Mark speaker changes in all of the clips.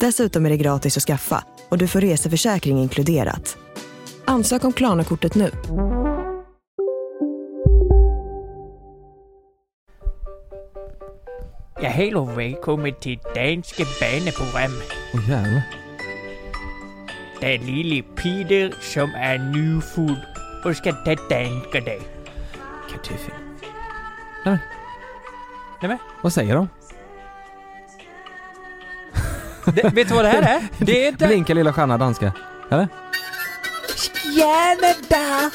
Speaker 1: Dessutom är det gratis att skaffa och du får reseförsäkring inkluderat. Ansök om Klarna-kortet nu.
Speaker 2: Ja, hej och välkommen till Danske Baneprogram.
Speaker 3: Åh jävlar.
Speaker 2: Det är lille Peter som är nyfull och ska ta danska dig.
Speaker 3: Kartoffel. Nej men.
Speaker 2: Nej, men.
Speaker 3: Vad säger de?
Speaker 2: Det, vet du vad det här är? Det är inte...
Speaker 3: Blinka lilla stjärna danska. Eller?
Speaker 2: Canada!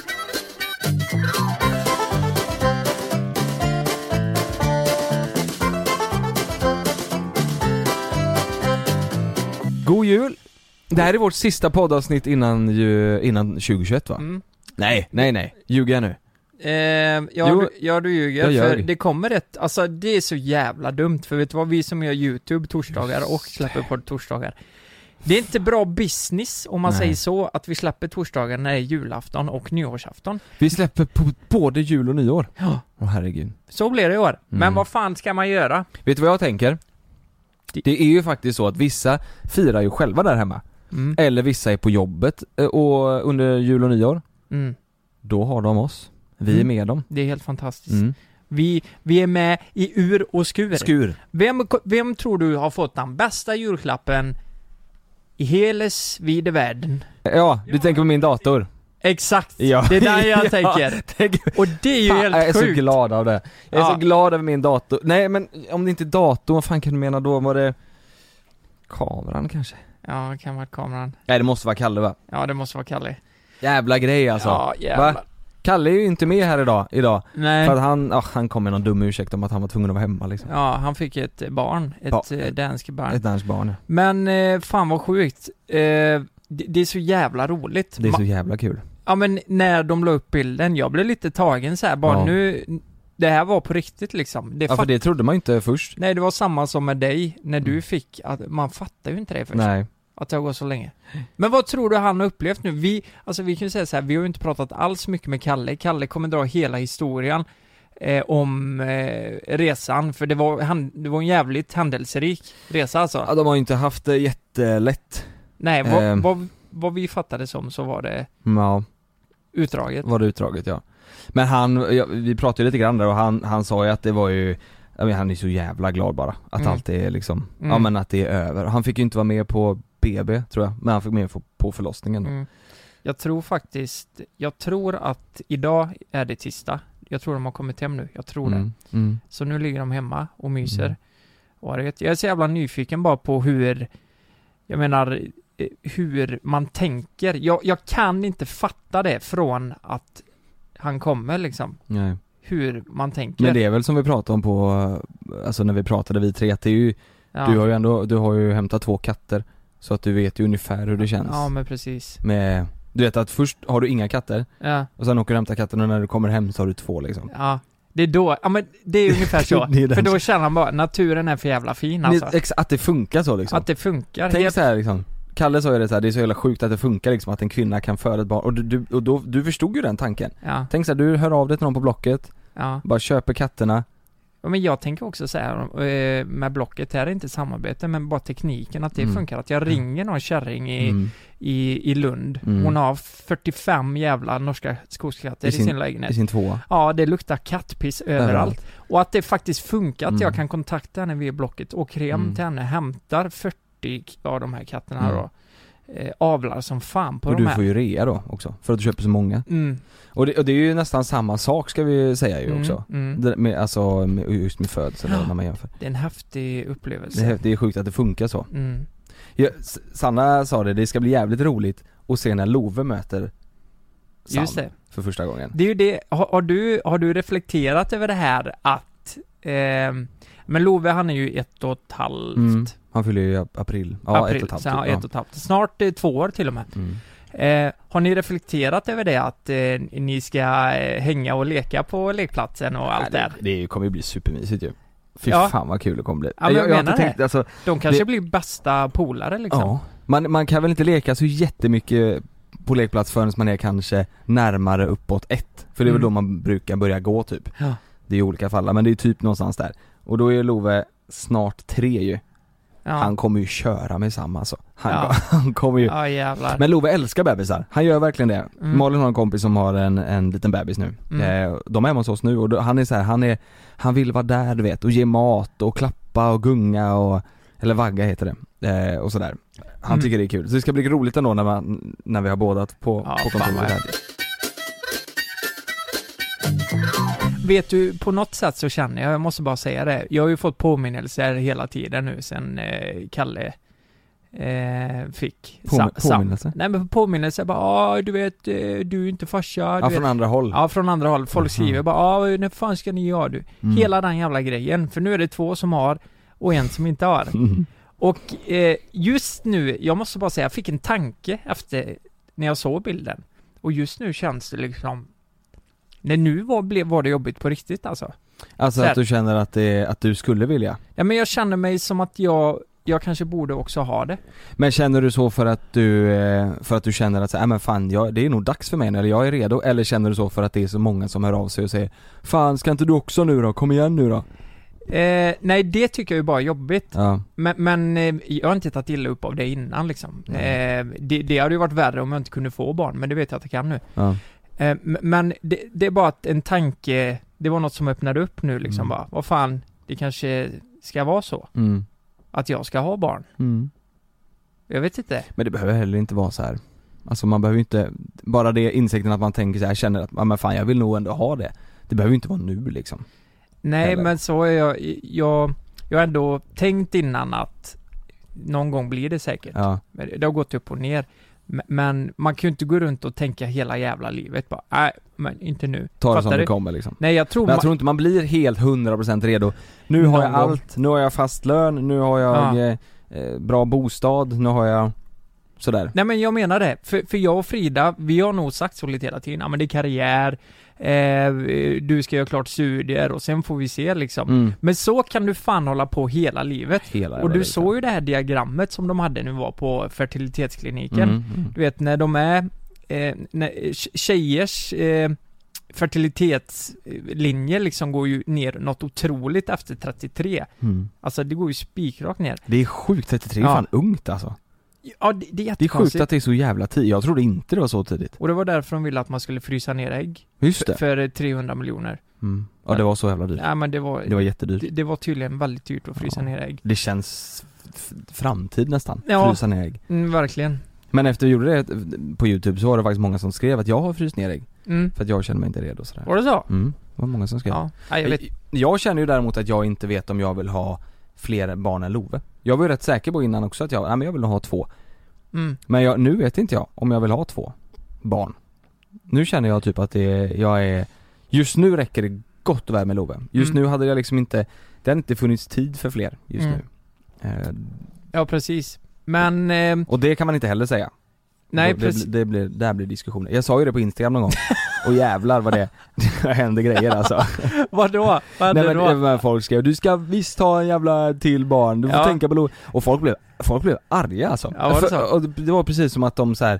Speaker 3: God jul! Det här är vårt sista poddavsnitt innan, ju, innan 2021 va?
Speaker 2: Mm.
Speaker 3: Nej, nej, nej. Ljuger jag nu?
Speaker 2: Eh, ja,
Speaker 3: Jo,
Speaker 2: du, ja, du ljuger,
Speaker 3: jag
Speaker 2: för
Speaker 3: ljög.
Speaker 2: det kommer ett, alltså det är så jävla dumt, för vet du vad, vi som gör YouTube torsdagar och släpper på torsdagar Det är inte bra business, om man
Speaker 3: Nej.
Speaker 2: säger så, att vi släpper torsdagar när det är julafton och nyårsafton
Speaker 3: Vi släpper på både jul och nyår.
Speaker 2: Ja.
Speaker 3: Åh herregud.
Speaker 2: Så blir det i år, men
Speaker 3: Mm.
Speaker 2: vad fan ska man göra?
Speaker 3: Vet du vad jag tänker?
Speaker 2: Det-
Speaker 3: Det är ju faktiskt så att vissa firar ju själva där hemma.
Speaker 2: Mm.
Speaker 3: Eller vissa är på jobbet eh, och under jul och nyår.
Speaker 2: Mm.
Speaker 3: Då har de oss. Vi är
Speaker 2: Mm.
Speaker 3: med dem.
Speaker 2: Det är helt fantastiskt
Speaker 3: Mm.
Speaker 2: vi, vi är med i ur och skur,
Speaker 3: Skur.
Speaker 2: Vem, vem tror du har fått den bästa julklappen i heles vide världen?
Speaker 3: Ja, du tänker på min dator.
Speaker 2: Exakt!
Speaker 3: Ja.
Speaker 2: Det är där jag
Speaker 3: Ja,
Speaker 2: tänker
Speaker 3: tänk-
Speaker 2: Och det är ju
Speaker 3: Fan,
Speaker 2: helt
Speaker 3: jag är
Speaker 2: sjukt!
Speaker 3: så glad av det. Jag är
Speaker 2: Ja.
Speaker 3: så glad över min dator. Nej men om det inte är datorn, vad fan kan du mena då? Var det kameran kanske?
Speaker 2: Ja, det kan vara kameran.
Speaker 3: Nej det måste vara Kalle va?
Speaker 2: Ja, det måste vara Kalle.
Speaker 3: Jävla grej alltså.
Speaker 2: ja, jävlar.
Speaker 3: Va? Kalle är ju inte med här idag, idag.
Speaker 2: Nej.
Speaker 3: För att han, ah, han kom med någon dum ursäkt om att han var tvungen att vara hemma liksom.
Speaker 2: Ja, han fick ett barn. Ett
Speaker 3: Ja.
Speaker 2: eh, danskt barn.
Speaker 3: Ett danskt barn.
Speaker 2: Men eh, fan vad sjukt. Eh, det, det är så jävla roligt.
Speaker 3: Det är så
Speaker 2: Ma-
Speaker 3: jävla kul.
Speaker 2: ja, men när de la upp bilden, jag blev lite tagen så här bara
Speaker 3: Ja.
Speaker 2: nu, det här var på riktigt liksom. Det
Speaker 3: Ja för
Speaker 2: fatt-
Speaker 3: det trodde man ju inte först.
Speaker 2: Nej, det var samma som med dig, när du
Speaker 3: Mm.
Speaker 2: fick, att, man fattar ju inte det först.
Speaker 3: Nej. Mm.
Speaker 2: Att det har gått så länge. Men vad tror du han har upplevt nu? Vi, alltså vi kan ju säga så här, vi har ju inte pratat alls mycket med Kalle. Kalle kommer dra hela historien eh, om eh, resan, för det var, han, det var en jävligt händelserik resa alltså.
Speaker 3: Ja, de har ju inte haft det jättelätt.
Speaker 2: Nej, vad,
Speaker 3: ehm.
Speaker 2: vad, vad vi fattade som så var det
Speaker 3: Mm, Ja.
Speaker 2: utdraget.
Speaker 3: Var det utdraget ja. Men han, ja, vi pratade ju lite grann där och han, han sa ju att det var ju ja, men han är så jävla glad bara, att
Speaker 2: Mm.
Speaker 3: allt är liksom, ja
Speaker 2: Mm.
Speaker 3: men att det är över. Han fick ju inte vara med på BB tror jag, men han fick med på- på förlossningen då.
Speaker 2: Mm. Jag tror faktiskt, jag tror att idag är det tisdag. Jag tror de har kommit hem nu, jag tror det.
Speaker 3: Mm. Mm.
Speaker 2: Så nu ligger de hemma och myser.
Speaker 3: Mm.
Speaker 2: Och har det gött. jag är så jävla nyfiken bara på hur, jag menar, eh, hur man tänker. Jag, jag kan inte fatta det från att han kommer liksom.
Speaker 3: Nej.
Speaker 2: Hur man tänker.
Speaker 3: Men det är väl som vi pratade om på, eh, alltså när vi pratade vi tre, att det är ju,
Speaker 2: ja.
Speaker 3: du har ju ändå, du har ju hämtat två katter, så att du vet ju ungefär hur det känns.
Speaker 2: Ja men precis.
Speaker 3: Med, du vet att först har du inga katter,
Speaker 2: Ja.
Speaker 3: och sen åker du och hämtar katten och när du kommer hem så har du två liksom.
Speaker 2: ja. Det är då, ja men det är ungefär så.
Speaker 3: Det är den-
Speaker 2: För då känner han bara, naturen är för jävla fin alltså.
Speaker 3: Ni- ex- Att det funkar så liksom.
Speaker 2: Att det funkar.
Speaker 3: Tänk
Speaker 2: helt-
Speaker 3: så här liksom, Kalle sa ju det så här, det är så jävla sjukt att det funkar liksom att en kvinna kan föda ett barn, och, du, du, och då, du förstod ju den tanken.
Speaker 2: Ja,
Speaker 3: Tänk så här, du hör av dig till någon på Blocket,
Speaker 2: ja.
Speaker 3: bara köper katterna,
Speaker 2: Ja, men jag tänker också så här eh, med Blocket, här är inte samarbete men bara tekniken, att det
Speaker 3: Mm.
Speaker 2: funkar. Att jag ringer någon kärring i,
Speaker 3: mm,
Speaker 2: i, i Lund.
Speaker 3: Mm.
Speaker 2: Hon har 45 jävla norska skogskatter i
Speaker 3: I
Speaker 2: sin,
Speaker 3: sin-
Speaker 2: lägenhet.
Speaker 3: i sin tvåa.
Speaker 2: Ja, det luktar kattpiss överallt.
Speaker 3: Överallt.
Speaker 2: Och att det faktiskt funkar, att
Speaker 3: Mm.
Speaker 2: jag kan kontakta henne via Blocket, åker hem
Speaker 3: Mm.
Speaker 2: till henne, hämtar 40 av de här katterna
Speaker 3: Mm.
Speaker 2: då. eh, avlar som fan på
Speaker 3: Och
Speaker 2: de
Speaker 3: du
Speaker 2: här.
Speaker 3: får ju rea då också, för att du köper så många.
Speaker 2: Mm,
Speaker 3: Och det, och det är ju nästan samma sak ska vi ju säga ju
Speaker 2: mm,
Speaker 3: också.
Speaker 2: Mm.
Speaker 3: Det, med, alltså med, just med födseln
Speaker 2: Ja.
Speaker 3: när man jämför.
Speaker 2: Det är en häftig
Speaker 3: Det
Speaker 2: upplevelse.
Speaker 3: är, det är sjukt att det funkar så.
Speaker 2: Mm.
Speaker 3: Ja, S- Sanna sa det, det ska bli jävligt roligt att se när Love möter Sam
Speaker 2: Just det.
Speaker 3: för första gången.
Speaker 2: Det är ju det, har, har, du, har du reflekterat över det här att, ehm, men Love han är ju ett och ett halvt,
Speaker 3: Mm. Han fyller ju ap- april, ja ett och ett halvt. typ.
Speaker 2: så, ja,
Speaker 3: ja.
Speaker 2: ett och ett halvt. snart eh, två år till och med.
Speaker 3: Mm.
Speaker 2: Eh, har ni reflekterat över det att eh, ni ska eh, hänga och leka på lekplatsen och allt det
Speaker 3: Nej,
Speaker 2: där?
Speaker 3: det, det kommer ju bli supermysigt ju. Fy
Speaker 2: Ja.
Speaker 3: fan vad kul det kommer bli.
Speaker 2: Ja, men
Speaker 3: jag, jag har inte
Speaker 2: menar det. Liksom.
Speaker 3: tänkt, alltså,
Speaker 2: De kanske
Speaker 3: det-
Speaker 2: blir bästa polare liksom.
Speaker 3: ja. man, man kan väl inte leka så jättemycket på lekplats förrän man är kanske närmare uppåt ett. För det är väl
Speaker 2: Mm.
Speaker 3: då man brukar börja gå typ.
Speaker 2: Ja.
Speaker 3: Det är olika fall men det är typ någonstans där. Och då är Love snart tre ju.
Speaker 2: Ja.
Speaker 3: Han kommer ju köra med samma alltså. Han,
Speaker 2: Ja.
Speaker 3: han kommer ju
Speaker 2: Ja jävlar.
Speaker 3: Men Love älskar bebisar, han gör verkligen det.
Speaker 2: Mm.
Speaker 3: Malin har en kompis som har en, en liten bebis nu.
Speaker 2: Mm.
Speaker 3: Eh, de är hemma hos oss nu och då, han är så här, han är, han vill vara där du vet och ge mat och klappa och gunga och, eller vagga heter det. Eh, och sådär. Han
Speaker 2: Mm.
Speaker 3: tycker det är kul. Så det ska bli roligt ändå när, man, när vi har bådat på,
Speaker 2: Ja,
Speaker 3: på
Speaker 2: fan vad
Speaker 3: kontoret här.
Speaker 2: Vet du, på något sätt så känner jag, jag måste bara säga det, jag har ju fått påminnelser hela tiden nu sen eh, Kalle eh, fick
Speaker 3: Påmi-
Speaker 2: Sam- Sam.
Speaker 3: påminnelse?
Speaker 2: Nej men påminnelser bara, ah, du vet, eh, du är inte farsa, du
Speaker 3: Ja,
Speaker 2: vet.
Speaker 3: från andra håll.
Speaker 2: Ja, från andra håll. Folk
Speaker 3: Mhm.
Speaker 2: skriver bara, ah, när fan ska ni göra du?
Speaker 3: Mm.
Speaker 2: Hela den jävla grejen, för nu är det två som har och en som inte har.
Speaker 3: Mm.
Speaker 2: Och eh, just nu, jag måste bara säga, jag fick en tanke efter när jag såg bilden. Och just nu känns det liksom... Nej, nu var, blev, var det jobbigt på riktigt alltså.
Speaker 3: Alltså
Speaker 2: Så här.
Speaker 3: att du känner att, det, att du skulle vilja.
Speaker 2: Ja, men jag känner mig som att jag, jag kanske borde också ha det.
Speaker 3: Men känner du så för att du, eh, för att du känner att så här, "Äh, men fan jag, det är nog dags för mig nu, eller jag är redo, eller känner du så för att det är så många som hör av sig och säger Fan ska inte du också nu då, kom igen nu då?
Speaker 2: Eh, nej, det tycker jag ju bara är jobbigt.
Speaker 3: Ja,
Speaker 2: Men, men eh, jag har inte tagit illa upp av det innan liksom. Eh, det, det hade ju varit värre om jag inte kunde få barn, men det vet jag att jag kan nu.
Speaker 3: ja.
Speaker 2: Eh, m- men det, det är bara att en tanke, det var något som öppnade upp nu liksom
Speaker 3: Mm.
Speaker 2: bara, vad fan, det kanske ska vara så.
Speaker 3: Mm.
Speaker 2: att jag ska ha barn.
Speaker 3: Mm.
Speaker 2: Jag vet inte.
Speaker 3: Men det behöver heller inte vara så här. Alltså man behöver ju inte, bara det insikten att man tänker så här, känner att "Ja, men fan jag vill nog ändå ha det. Det behöver ju inte vara nu liksom.
Speaker 2: Nej,
Speaker 3: Eller?
Speaker 2: men så är jag, jag, jag har ändå tänkt innan att någon gång blir det säkert.
Speaker 3: Ja.
Speaker 2: Men Det har gått upp och ner. M- Men man kan ju inte gå runt och tänka hela jävla livet bara, nej, men inte nu.
Speaker 3: Ta det
Speaker 2: Fattar
Speaker 3: som
Speaker 2: du?
Speaker 3: det kommer liksom.
Speaker 2: Nej, jag tror,
Speaker 3: Men jag
Speaker 2: ma-
Speaker 3: tror inte man blir helt 100% redo. Nu har
Speaker 2: Någon
Speaker 3: jag
Speaker 2: gång.
Speaker 3: allt, nu har jag fast lön, nu har jag
Speaker 2: Ja.
Speaker 3: eh, eh, bra bostad, nu har jag sådär.
Speaker 2: Nej men jag menar det, för, för jag och Frida, vi har nog sagt så lite hela tiden, ja men det är karriär, eh, du ska göra klart studier och sen får vi se liksom.
Speaker 3: Mm.
Speaker 2: Men så kan du fan hålla på hela livet.
Speaker 3: Hela
Speaker 2: Och
Speaker 3: jävla
Speaker 2: du
Speaker 3: livet.
Speaker 2: såg ju det här diagrammet som de hade nu var på fertilitetskliniken.
Speaker 3: Mm, mm.
Speaker 2: Du vet när de är, eh, när tje- tjejers eh, fertilitetslinje liksom går ju ner något otroligt efter 33.
Speaker 3: Mm.
Speaker 2: Alltså det går ju spikrakt ner.
Speaker 3: Det är sjukt, 33 är
Speaker 2: Ja.
Speaker 3: fan ungt alltså.
Speaker 2: Ja det, det är
Speaker 3: Det är sjukt
Speaker 2: jättekonstigt.
Speaker 3: att det är så jävla tidigt, jag trodde inte det var så tidigt.
Speaker 2: Och det var därför de ville att man skulle frysa ner ägg.
Speaker 3: Just det.
Speaker 2: För eh, 300 miljoner.
Speaker 3: Mm. Ja det var så jävla dyrt.
Speaker 2: Nej men det var,
Speaker 3: Det var jättedyrt.
Speaker 2: det, det var tydligen väldigt dyrt att frysa
Speaker 3: Ja.
Speaker 2: ner ägg.
Speaker 3: Det känns f- framtid nästan,
Speaker 2: Ja.
Speaker 3: frysa ner ägg.
Speaker 2: Mm, verkligen.
Speaker 3: Men efter vi gjorde det eh, på youtube så var det faktiskt många som skrev att jag har fryst ner ägg,
Speaker 2: Mm.
Speaker 3: för att jag känner mig inte redo och sådär.
Speaker 2: Var det så?
Speaker 3: Mm, det var många som skrev. Eh,
Speaker 2: Ja. Nej, jag vet.
Speaker 3: Jag känner ju däremot att jag inte vet om jag vill ha fler barn än Love. Jag var ju rätt säker på innan också att jag, nej men jag vill nog ha två.
Speaker 2: Mm.
Speaker 3: Men jag, nu vet inte jag om jag vill ha två barn. Nu känner jag typ att det, jag är, just nu räcker det gott och väl med Love. Just
Speaker 2: Mm.
Speaker 3: nu hade jag liksom inte, det hade inte funnits tid för fler just
Speaker 2: Mm.
Speaker 3: nu. Eh,
Speaker 2: Ja precis. Men, eh,
Speaker 3: och det kan man inte heller säga.
Speaker 2: nej
Speaker 3: det, det,
Speaker 2: precis.
Speaker 3: det blir, där blir diskussioner. Jag sa ju det på Instagram någon gång, och jävlar vad det, det händer grejer alltså.
Speaker 2: Vadå? Vad hände
Speaker 3: Nej men, eh,
Speaker 2: då?
Speaker 3: det var folk skrev 'Du ska visst ha en jävla till barn, du får
Speaker 2: Ja.
Speaker 3: tänka på Lo-" Och folk blev, folk blev arga alltså.
Speaker 2: Ja, var det så?
Speaker 3: och det var precis som att de så här.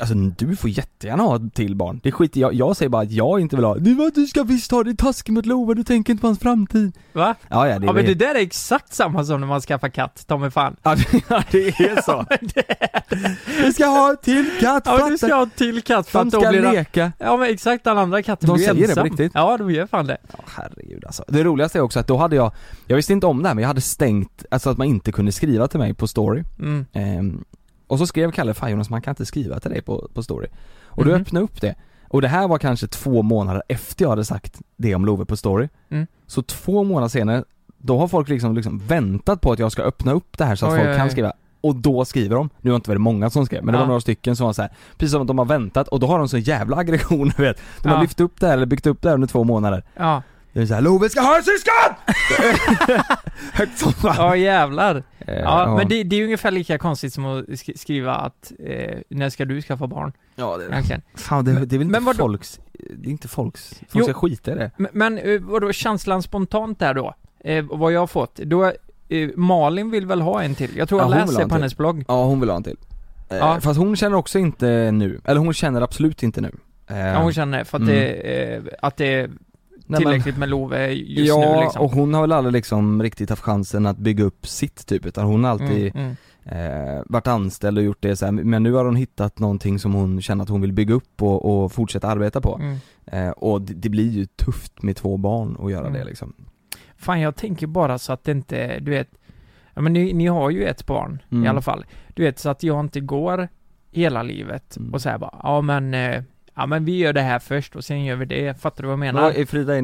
Speaker 3: Alltså du får jättegärna ha ett till barn, det skiter jag jag säger bara att jag inte vill ha Du, vad, du ska visst ha, det är taskigt mot Love, du tänker inte på hans framtid
Speaker 2: Va?
Speaker 3: Ja ja, det,
Speaker 2: Ja
Speaker 3: är
Speaker 2: men det där är exakt samma som när man skaffar katt, ta mig fan.
Speaker 3: ja, det, ja, det är så Du ska ha en till katt,
Speaker 2: Ja men
Speaker 3: fatta
Speaker 2: du ska ha en till katt för
Speaker 3: De
Speaker 2: att då
Speaker 3: ska
Speaker 2: blir det...
Speaker 3: leka
Speaker 2: Ja men exakt, den andra katten
Speaker 3: De
Speaker 2: blir
Speaker 3: säger det på
Speaker 2: ensam.
Speaker 3: riktigt.
Speaker 2: Ja de gör fan det.
Speaker 3: Ja, herregud alltså. Det roligaste är också att då hade jag, jag visste inte om det här men jag hade stängt, alltså att man inte kunde skriva till mig på story
Speaker 2: Mm.
Speaker 3: Ehm, Och så skrev Kalle, fan Jonas man kan inte skriva till dig på, på story. Och då
Speaker 2: Mhm.
Speaker 3: öppnade jag upp det. Och det här var kanske två månader efter jag hade sagt det om Love på story.
Speaker 2: Mm.
Speaker 3: Så två månader senare, då har folk liksom, liksom väntat på att jag ska öppna upp det här så att
Speaker 2: Oj,
Speaker 3: folk
Speaker 2: oj,
Speaker 3: kan
Speaker 2: oj.
Speaker 3: skriva. Och då skriver de, nu var det inte väldigt många som skrev men det
Speaker 2: Ja.
Speaker 3: var några stycken som var så här, precis som att de har väntat och då har de så jävla aggression du vet. De har
Speaker 2: Ja.
Speaker 3: lyft upp det här eller byggt upp det här under två månader.
Speaker 2: Ja.
Speaker 3: Det är såhär, Love ska ha en syskon! Högt som fan.
Speaker 2: Ja jävlar.
Speaker 3: Eh,
Speaker 2: Ja, men det, det är ju ungefär lika konstigt som att sk- skriva att eh, när ska du skaffa barn?
Speaker 3: ja, det är
Speaker 2: Egentligen.
Speaker 3: Fan det, det är väl inte
Speaker 2: Men vadå?
Speaker 3: folks, det är inte folks, folk
Speaker 2: Jo.
Speaker 3: ska skita i det
Speaker 2: Men, men eh, vadå, känslan spontant där då? Eh, vad jag har fått? Då, eh, Malin vill väl ha en till? Jag tror
Speaker 3: Ja,
Speaker 2: jag
Speaker 3: hon vill
Speaker 2: läser
Speaker 3: ha
Speaker 2: det
Speaker 3: en
Speaker 2: på hennes blogg.
Speaker 3: Ja hon vill ha en till eh,
Speaker 2: Ja.
Speaker 3: Fast hon känner också inte nu, eller hon känner absolut inte nu eh,
Speaker 2: Ja, hon känner för att,
Speaker 3: Mm.
Speaker 2: det, eh, att det är
Speaker 3: nej, men-
Speaker 2: tillräckligt med Love just
Speaker 3: Ja,
Speaker 2: nu liksom.
Speaker 3: och hon har väl aldrig liksom riktigt haft chansen att bygga upp sitt typ utan hon har alltid
Speaker 2: Mm, mm.
Speaker 3: eh, varit anställd och gjort det så här, men nu har hon hittat någonting som hon känner att hon vill bygga upp och, och fortsätta arbeta på
Speaker 2: Mm.
Speaker 3: eh, Och det, det blir ju tufft med två barn att göra
Speaker 2: Mm.
Speaker 3: det liksom
Speaker 2: Fan, jag tänker bara så att det inte, du vet, ja men ni, ni har ju ett barn
Speaker 3: Mm.
Speaker 2: i alla fall. Du vet, så att jag inte går hela livet
Speaker 3: Mm.
Speaker 2: och säger bara, ja men, eh, ja men vi gör det här först och sen gör vi det. Fattar du vad jag menar?
Speaker 3: Men, Frida är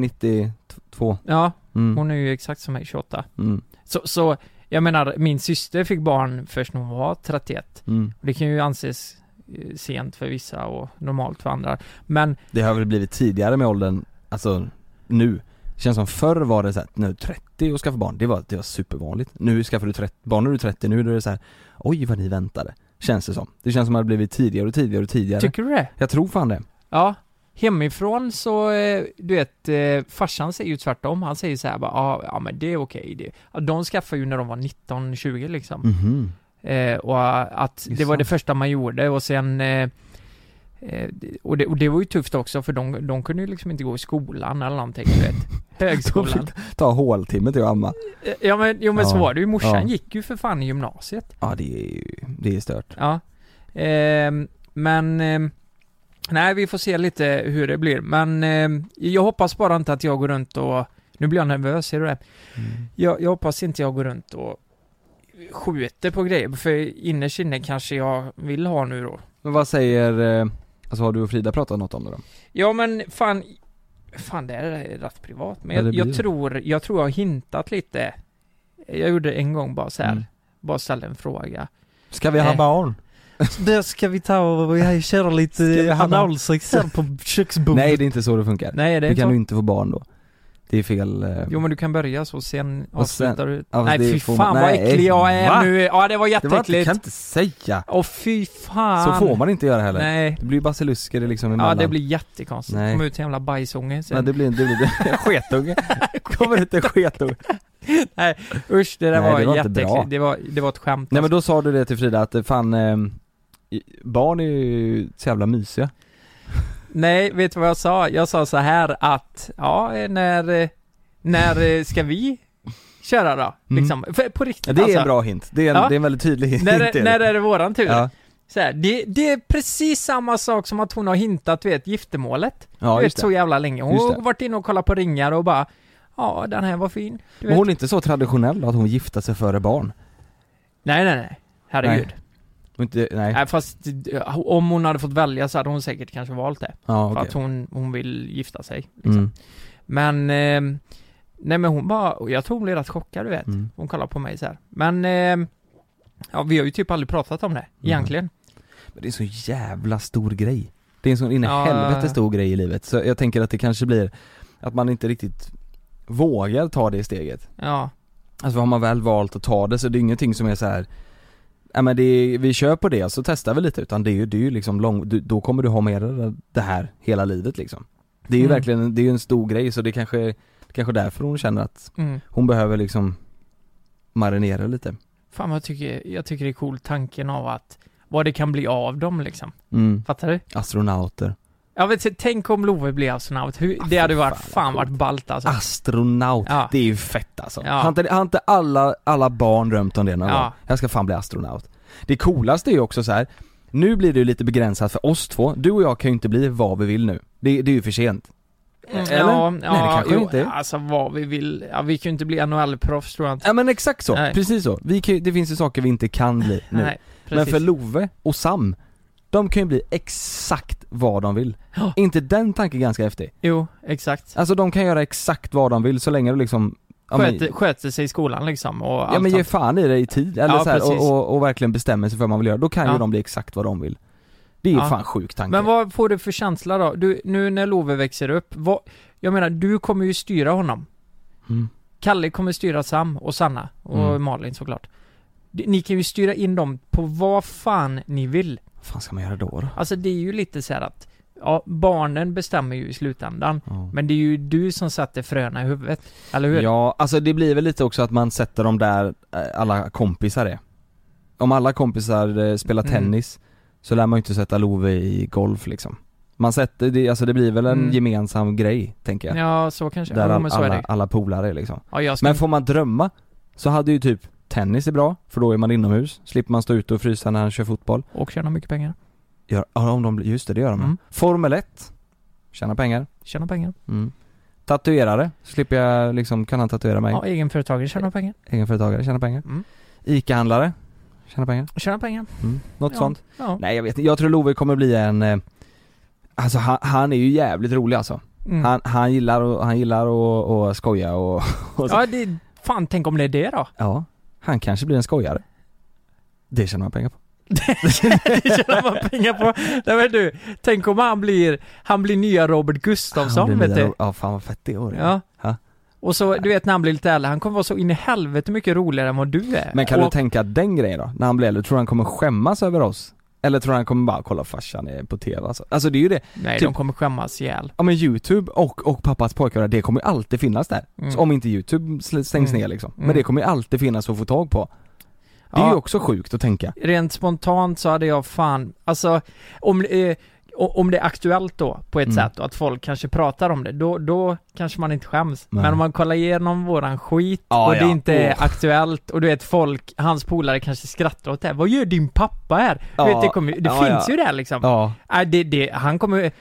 Speaker 3: 92
Speaker 2: Ja,
Speaker 3: mm.
Speaker 2: hon är ju exakt som mig, 28.
Speaker 3: Mm.
Speaker 2: Så, så, jag menar, min syster fick barn först när hon var 31.
Speaker 3: Mm.
Speaker 2: Och Det kan ju anses eh, sent för vissa och normalt för andra. Men,
Speaker 3: Det har väl blivit tidigare med åldern, alltså nu Känns som förr var det såhär, nu 30 och skaffa barn, det var, det var supervanligt Nu skaffar du 30, barn när du är 30, nu är det så här, oj vad ni väntade Känns det som, det känns som att det har blivit tidigare och tidigare och tidigare
Speaker 2: tycker du det?
Speaker 3: Jag tror fan det
Speaker 2: Ja. Hemifrån så, eh, du vet, eh, farsan säger ju tvärtom. Han säger så här bara, "Ja, ja men det är okej. Det- ja, De skaffade ju när de var 19, 20 liksom.
Speaker 3: Mhm.
Speaker 2: Eh, och eh, att
Speaker 3: Det är
Speaker 2: det var det
Speaker 3: sant.
Speaker 2: första man gjorde och sen eh, eh, och, det, och det var ju tufft också för de, de kunde ju liksom inte gå i skolan eller någonting, du vet. Högskolan.
Speaker 3: Ta håltimme till att amma
Speaker 2: Eh, Ja men, jo, men så
Speaker 3: Ja,
Speaker 2: var det ju, morsan
Speaker 3: ja.
Speaker 2: gick ju för fan i gymnasiet.
Speaker 3: Ja det är ju, det är stört
Speaker 2: Ja. Ehm, men, ehm, nej vi får se lite hur det blir. Men ehm, jag hoppas bara inte att jag går runt och, nu blir jag nervös, ser du det?
Speaker 3: Mm.
Speaker 2: Jag, jag hoppas inte jag går runt och skjuter på grejer, för innerst inne kanske jag vill ha nu då.
Speaker 3: Men vad säger, eh, alltså har du och Frida pratat något om det då?
Speaker 2: Ja men fan, fan det här är rätt privat. Men
Speaker 3: Ja,
Speaker 2: jag,
Speaker 3: det blir
Speaker 2: jag
Speaker 3: det.
Speaker 2: tror, jag tror jag har hintat lite. Jag gjorde en gång bara så här,
Speaker 3: Mm.
Speaker 2: bara ställde en fråga.
Speaker 3: Ska vi
Speaker 2: ha
Speaker 3: barn?
Speaker 4: Där ska vi ta och köra
Speaker 3: Ska vi
Speaker 4: lite
Speaker 3: ha någon-
Speaker 4: analsex här på köksbordet.
Speaker 3: Nej det är inte så det funkar,
Speaker 2: Nej det är
Speaker 3: du
Speaker 2: inte
Speaker 3: kan
Speaker 2: så.
Speaker 3: ju inte få barn då Det är fel eh,
Speaker 2: Jo men du kan börja så, sen
Speaker 3: Och sen-
Speaker 2: avslutar du.
Speaker 3: Ja,
Speaker 2: nej
Speaker 3: det
Speaker 2: fy
Speaker 3: får
Speaker 2: fan
Speaker 3: man-
Speaker 2: vad
Speaker 3: nej.
Speaker 2: äcklig jag är
Speaker 3: Va?
Speaker 2: nu. Ja det var
Speaker 3: Det var inte,
Speaker 2: jätteäckligt.
Speaker 3: kan jag inte säga!
Speaker 2: Åh fy fan.
Speaker 3: Så får man inte göra heller
Speaker 2: Nej.
Speaker 3: Det blir basilusker liksom emellan.
Speaker 2: Ja det blir jättekonstigt.
Speaker 3: Nej.
Speaker 2: Kom ut en jävla bajsunge sen.
Speaker 3: Nej det blir, det blir en sketunge. Kommer inte en sketunge.
Speaker 2: Usch det där
Speaker 3: Nej,
Speaker 2: var,
Speaker 3: det var inte bra.
Speaker 2: jätteäckligt. Det var, det var ett skämt. alltså.
Speaker 3: Nej men då sa du det till Frida att eh, fan, eh, barn är ju så jävla mysiga.
Speaker 2: Nej, vet du vad jag sa? Jag sa så här att, ja, eh, när, eh, när eh, ska vi köra då?
Speaker 3: Mm.
Speaker 2: Liksom, för, på riktigt
Speaker 3: Ja, det är
Speaker 2: alltså.
Speaker 3: en bra hint, det är en,
Speaker 2: Ja.
Speaker 3: det är en väldigt tydlig hint.
Speaker 2: När,
Speaker 3: det
Speaker 2: är-
Speaker 3: är
Speaker 2: när
Speaker 3: det.
Speaker 2: är det våran tur?
Speaker 3: Ja,
Speaker 2: Så här, det, det är precis samma sak som att hon har hintat, du vet, giftermålet.
Speaker 3: ja
Speaker 2: du
Speaker 3: just
Speaker 2: vet, så
Speaker 3: det.
Speaker 2: jävla länge. Hon
Speaker 3: Just det.
Speaker 2: har varit inne och kollat på ringar och bara, ja, den här var fin. Du
Speaker 3: Men
Speaker 2: vet.
Speaker 3: hon är inte så traditionell då, att hon gifte sig före barn.
Speaker 2: Nej, nej, nej. Herregud. Nej.
Speaker 3: Hon Inte, nej.
Speaker 2: fast eh, om hon hade fått välja så hade hon säkert kanske valt det.
Speaker 3: Ja,
Speaker 2: För
Speaker 3: okej.
Speaker 2: att hon, hon vill gifta sig. Liksom.
Speaker 3: Mm.
Speaker 2: Men, eh, nej men hon bara, och jag tror hon blev rätt chockad du vet.
Speaker 3: Mm.
Speaker 2: Hon kollar på mig så här. Men, eh, ja vi har ju typ aldrig pratat om det,
Speaker 3: Mm.
Speaker 2: egentligen.
Speaker 3: Men det är en så jävla stor grej. Det är en sån in i
Speaker 2: Ja.
Speaker 3: helvete stor grej i livet. Så jag tänker att det kanske blir att man inte riktigt vågar ta det steget.
Speaker 2: Ja.
Speaker 3: Alltså har man väl valt att ta det så det är ingenting som är så här. Nej men det är, vi kör på det och så testar vi lite utan det är ju, det är ju liksom lång, du, då kommer du ha med dig det här hela livet liksom Det är ju
Speaker 2: Mm.
Speaker 3: verkligen, det är ju en stor grej så det kanske, det kanske är därför hon känner att
Speaker 2: Mm.
Speaker 3: hon behöver liksom marinera lite
Speaker 2: Fan vad jag tycker, jag tycker det är cool tanken av att, vad det kan bli av dem liksom.
Speaker 3: mm.
Speaker 2: Fattar du?
Speaker 3: Astronauter
Speaker 2: Jag vet inte, tänk om Love blir astronaut. Hur,
Speaker 3: Ah,
Speaker 2: det hade
Speaker 3: fy
Speaker 2: varit,
Speaker 3: fan,
Speaker 2: fan,
Speaker 3: vad Ah,
Speaker 2: varit ballt alltså.
Speaker 3: Astronaut,
Speaker 2: Ja.
Speaker 3: det är ju fett alltså.
Speaker 2: Ja.
Speaker 3: Har inte, har inte alla, alla barn drömt om det någon
Speaker 2: Ja.
Speaker 3: gång? Jag ska fan bli astronaut. Det coolaste är ju också så här. nu blir det ju lite begränsat för oss två, du och jag kan ju inte bli vad vi vill nu. Det, det är ju för sent.
Speaker 2: Mm,
Speaker 3: eller?
Speaker 2: Ja,
Speaker 3: Nej, det
Speaker 2: ja,
Speaker 3: kanske
Speaker 2: jo,
Speaker 3: inte är.
Speaker 2: Alltså vad vi vill, ja, vi kan
Speaker 3: Ah,
Speaker 2: ju inte bli NHL-proffs tror jag inte.
Speaker 3: Ja men exakt så,
Speaker 2: Nej.
Speaker 3: precis så. Vi kan, ju- det finns ju saker vi inte kan bli nu.
Speaker 2: Nej.
Speaker 3: Men för Love och Sam, de kan ju bli exakt vad de vill.
Speaker 2: Ja.
Speaker 3: inte den tanken ganska häftig?
Speaker 2: Jo, exakt.
Speaker 3: Alltså de kan göra exakt vad de vill så länge du liksom ja, men-
Speaker 2: Sköter, sköter sig i skolan liksom och
Speaker 3: Ja
Speaker 2: allt
Speaker 3: men ge
Speaker 2: sånt.
Speaker 3: fan i det i tid, eller
Speaker 2: Ja,
Speaker 3: så här,
Speaker 2: precis.
Speaker 3: och, och, och verkligen bestämmer sig för vad man vill göra, då kan
Speaker 2: Ja.
Speaker 3: ju de bli exakt vad de vill Det är ju
Speaker 2: Ja.
Speaker 3: fan sjuk tanke
Speaker 2: Men vad får du för känsla då? Du, nu när Love växer upp, vad, jag menar du kommer ju styra honom.
Speaker 3: Mm.
Speaker 2: Kalle kommer styra Sam och Sanna och
Speaker 3: Mm.
Speaker 2: Malin såklart. D- Ni kan ju styra in dem på vad fan ni vill.
Speaker 3: Vad fan ska man göra då? då?
Speaker 2: Alltså det är ju lite så här att, ja barnen bestämmer ju i slutändan.
Speaker 3: Ja.
Speaker 2: Men det är ju du som satte fröna i huvudet, eller hur?
Speaker 3: Ja, alltså det blir väl lite också att man sätter dem där eh, alla kompisar är Om alla kompisar eh, spelar
Speaker 2: Mm.
Speaker 3: tennis så lär man ju inte sätta Love i golf liksom Man sätter, det, alltså det blir väl en
Speaker 2: Mm.
Speaker 3: gemensam grej tänker jag
Speaker 2: Ja, så kanske.
Speaker 3: Där
Speaker 2: ja,
Speaker 3: all,
Speaker 2: men så är
Speaker 3: alla,
Speaker 2: det.
Speaker 3: alla polare är liksom
Speaker 2: Ja, jag ska...
Speaker 3: Men får man drömma så hade ju typ tennis är bra, för då är man inomhus, slipper man stå ute och frysa när han kör fotboll
Speaker 2: Och tjäna mycket pengar.
Speaker 3: Gör, ja, om de, blir- just det, det gör de.
Speaker 2: Mm.
Speaker 3: Formel 1. Tjäna pengar.
Speaker 2: Tjäna pengar.
Speaker 3: Tatuerare. Slipper jag liksom, kan han tatuera mig?
Speaker 2: Ja, egenföretagare tjäna pengar.
Speaker 3: Egenföretagare, tjäna pengar.
Speaker 2: Mm.
Speaker 3: Ica-handlare. Tjäna pengar.
Speaker 2: Tjäna pengar.
Speaker 3: Något
Speaker 2: Ja.
Speaker 3: sånt.
Speaker 2: Ja.
Speaker 3: Nej jag vet inte. jag tror Love kommer bli en eh, Alltså han, han är ju jävligt rolig alltså.
Speaker 2: Mm.
Speaker 3: Han, han gillar och, han gillar och, och skoja och, och så.
Speaker 2: Ja, det... Fan, tänk om det är det då?
Speaker 3: ja. Han kanske blir en skojare. Det tjänar man pengar på.
Speaker 2: det tjänar man pengar på. Nej men du, tänk om han blir, han blir nya Robert
Speaker 3: Han
Speaker 2: Gustafsson
Speaker 3: blir
Speaker 2: vet
Speaker 3: nya
Speaker 2: du.
Speaker 3: Ro- Ja fan vad fett det vore.
Speaker 2: Ja.
Speaker 3: Ja.
Speaker 2: Och så, du vet när han blir lite äldre, han kommer vara så in i helvete mycket roligare än vad du är.
Speaker 3: Men kan
Speaker 2: och,
Speaker 3: du tänka den grejen då? När han blir äldre, tror du han kommer skämmas över oss? Eller tror du han kommer bara kolla farsan är på TV alltså? Alltså det är ju det,
Speaker 2: Nej,
Speaker 3: typ-
Speaker 2: de kommer skämmas ihjäl.
Speaker 3: ja men youtube och, och pappas pojkar, det kommer ju alltid finnas där.
Speaker 2: Mm.
Speaker 3: Så om inte youtube sl- stängs
Speaker 2: Mm.
Speaker 3: ner liksom. Men
Speaker 2: Mm.
Speaker 3: det kommer ju alltid finnas att få tag på. Det är
Speaker 2: Ja.
Speaker 3: ju också sjukt att tänka.
Speaker 2: Rent spontant så hade jag fan, alltså om, eh, o- om det är aktuellt då på ett
Speaker 3: Mm.
Speaker 2: sätt och att folk kanske pratar om det, då, då kanske man inte skäms.
Speaker 3: Nej.
Speaker 2: Men om man kollar igenom våran skit
Speaker 3: Ja,
Speaker 2: och det
Speaker 3: ja. Oh.
Speaker 2: inte är
Speaker 3: Åh.
Speaker 2: aktuellt och du vet folk, hans polare kanske skrattar åt det här. Vad gör din pappa här?
Speaker 3: Ja,
Speaker 2: Du vet, det kommer, ju- det
Speaker 3: ja,
Speaker 2: finns
Speaker 3: ja.
Speaker 2: ju där liksom.
Speaker 3: Ja.
Speaker 2: Nej, det, det, han kommer,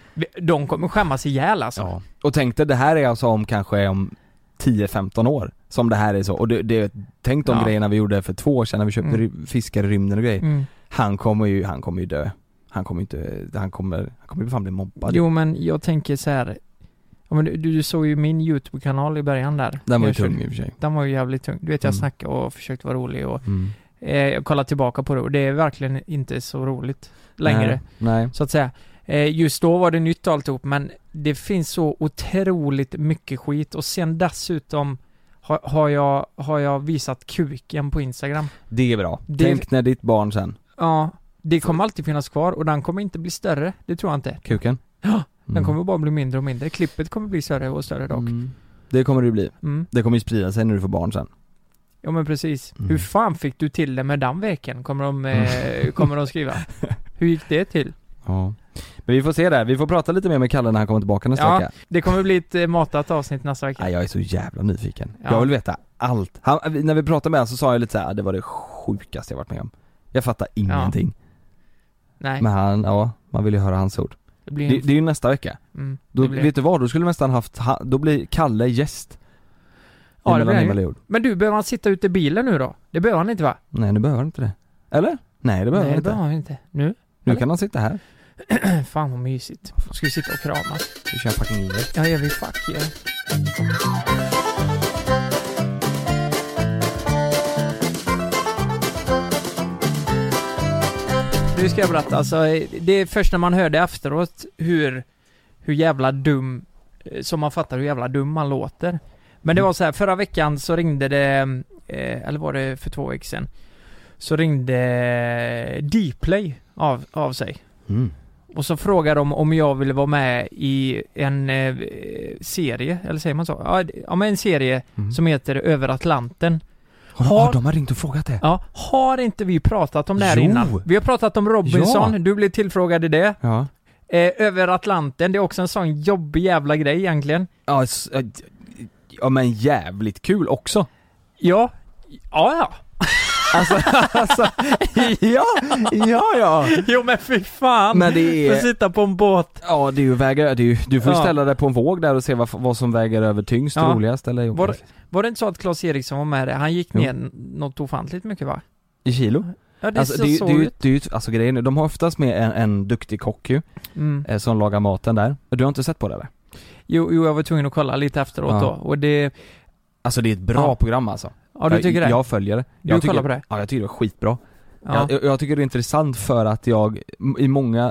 Speaker 2: de kommer skämmas ihjäl alltså.
Speaker 3: ja. Och tänk dig, det här är alltså om kanske om 10-15 år som det här är så. Och det, det, tänk de
Speaker 2: Ja.
Speaker 3: grejerna vi gjorde för två år sedan när vi köpte
Speaker 2: Mm.
Speaker 3: ry- fiskar i rymden och grejer.
Speaker 2: Mm.
Speaker 3: Han kommer ju, han kommer ju dö. Han kommer inte, han kommer, han kommer ju fan bli mobbad.
Speaker 2: Jo men jag tänker så här. Ja, men du, du såg ju min YouTube-kanal i början där.
Speaker 3: Den var ju
Speaker 2: Jag körde-
Speaker 3: tung i och för sig.
Speaker 2: Den var ju jävligt tung. Du vet jag
Speaker 3: Mm.
Speaker 2: snackade och försökte vara rolig och
Speaker 3: Mm.
Speaker 2: eh, jag kollade tillbaka på det och det är verkligen inte så roligt längre.
Speaker 3: Nej.
Speaker 2: Så att säga. Eh, just då var det nytt alltihop men det finns så otroligt mycket skit och sen dessutom har, har, jag, har jag visat kuken på Instagram.
Speaker 3: Det är bra.
Speaker 2: Det-
Speaker 3: Tänk när ditt barn sen,
Speaker 2: Ja, det kommer alltid finnas kvar och den kommer inte bli större. Det tror jag inte.
Speaker 3: kuken.
Speaker 2: Ja, Den
Speaker 3: Mm.
Speaker 2: kommer bara bli mindre och mindre. Klippet kommer bli större och större dock.
Speaker 3: Mm. Det kommer det ju bli.
Speaker 2: Mm.
Speaker 3: Det kommer ju sprida sig när du får barn sen.
Speaker 2: Ja men precis.
Speaker 3: Mm.
Speaker 2: Hur fan fick du till det med den veken? Kommer de, eh, kommer de skriva. Hur gick det till?
Speaker 3: Ja. Men vi får se där, vi får prata lite mer med Kalle när han kommer tillbaka nästa
Speaker 2: Ja.
Speaker 3: vecka.
Speaker 2: Det kommer bli ett eh, matat avsnitt nästa vecka.
Speaker 3: Nej, jag är så jävla nyfiken.
Speaker 2: Ja.
Speaker 3: Jag vill veta allt. Han, när vi pratade med honom så sa jag lite så här, "Ah, det var det sjukaste jag varit med om. Jag fattar ingenting.
Speaker 2: Nej,
Speaker 3: Men han, ja, man vill ju höra hans ord.
Speaker 2: det blir
Speaker 3: Det,
Speaker 2: en...
Speaker 3: det är ju nästa vecka.
Speaker 2: mm,
Speaker 3: Då,
Speaker 2: det blir...
Speaker 3: Vet du vad, då skulle vi nästan haft, ha- då blir Kalle gäst.
Speaker 2: Ja, det
Speaker 3: I Mellan
Speaker 2: blir han ju.
Speaker 3: himmel och jord.
Speaker 2: Men du, behöver han sitta ute i bilen nu då? Det behöver han inte va?
Speaker 3: Nej, nu behöver han inte det. Eller? Nej, det behöver han
Speaker 2: Nej, det
Speaker 3: inte.
Speaker 2: behöver han inte. Nu?
Speaker 3: Nu
Speaker 2: Eller?
Speaker 3: kan han sitta här.
Speaker 2: Fan vad mysigt. Ska vi sitta och kramas?
Speaker 3: Vi kör fucking livet.
Speaker 2: Ja, jag vill fuck yeah. Nu ska jag berätta, alltså eh, det är först när man hörde efteråt hur, hur jävla dum, eh, som man fattar hur jävla dum man låter. Men det var så här, förra veckan så ringde det, eh, eller var det för två veckor sedan, så ringde Dplay av, av sig.
Speaker 3: Mm.
Speaker 2: Och så frågade de om jag ville vara med i en eh, serie, eller säger man så? Ja, det- Ja, men en serie
Speaker 3: Mm.
Speaker 2: som heter Över Atlanten.
Speaker 3: Har,
Speaker 2: Har-
Speaker 3: har... De har ringt och frågat det.
Speaker 2: Ja, har inte vi pratat om det här
Speaker 3: Jo.
Speaker 2: innan? Vi har pratat om Robinson,
Speaker 3: Ja.
Speaker 2: du blev tillfrågad i det.
Speaker 3: Ja.
Speaker 2: Eh, över Atlanten, det är också en sån jobbig jävla grej egentligen.
Speaker 3: Ja, s- ja, ja men jävligt kul också.
Speaker 2: Ja, ja, ja.
Speaker 3: Alltså, alltså ja, ja, ja.
Speaker 2: Jo men fy fan!
Speaker 3: Men det
Speaker 2: Får
Speaker 3: är,
Speaker 2: sitta på en båt.
Speaker 3: ja det är ju väga, det är ju, du får ju
Speaker 2: Ja.
Speaker 3: ställa dig på en våg där och se vad, vad som väger över tyngst,
Speaker 2: Ja.
Speaker 3: roligast eller
Speaker 2: Var, var det inte så att Claes Eriksson var med där? Han gick
Speaker 3: Jo.
Speaker 2: ner n- något ofantligt mycket va?
Speaker 3: I kilo?
Speaker 2: Ja, det
Speaker 3: Alltså,
Speaker 2: är så
Speaker 3: det, är ju- det, är ju-
Speaker 2: sorgligt.
Speaker 3: det är ju, alltså grejen är- de har oftast med en, en duktig kock ju,
Speaker 2: Mm.
Speaker 3: eh, som lagar maten där. Du har inte sett på det eller?
Speaker 2: Jo, jo, jag var tvungen att kolla lite efteråt
Speaker 3: Ja.
Speaker 2: då. Och det,
Speaker 3: Alltså det är ett bra
Speaker 2: Ja.
Speaker 3: program alltså.
Speaker 2: ja du tycker
Speaker 3: jag,
Speaker 2: det?
Speaker 3: Jag följer det.
Speaker 2: Du
Speaker 3: jag tycker,
Speaker 2: kollar på det?
Speaker 3: Ja, jag tycker det var skitbra.
Speaker 2: Ja.
Speaker 3: Jag, jag tycker det är intressant för att jag m- i många...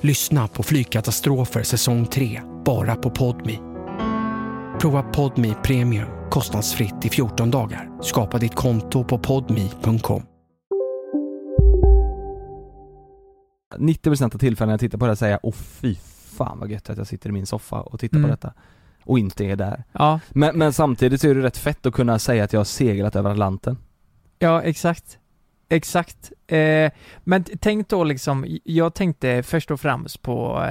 Speaker 5: Lyssna på Flygkatastrofer säsong 3, bara på Podmi. Prova Podmi Premium kostnadsfritt i 14 dagar. Skapa ditt konto på podmi.com.
Speaker 3: 90% av tillfällena jag tittar på det här säger jag åh fy fan vad gött att jag sitter i min soffa och tittar
Speaker 2: Mm.
Speaker 3: på detta. Och inte är där.
Speaker 2: Ja,
Speaker 3: Men, men samtidigt så är det rätt fett att kunna säga att jag har seglat över Atlanten.
Speaker 2: ja exakt. Exakt. Eh, men t- tänk då liksom, jag tänkte först och främst på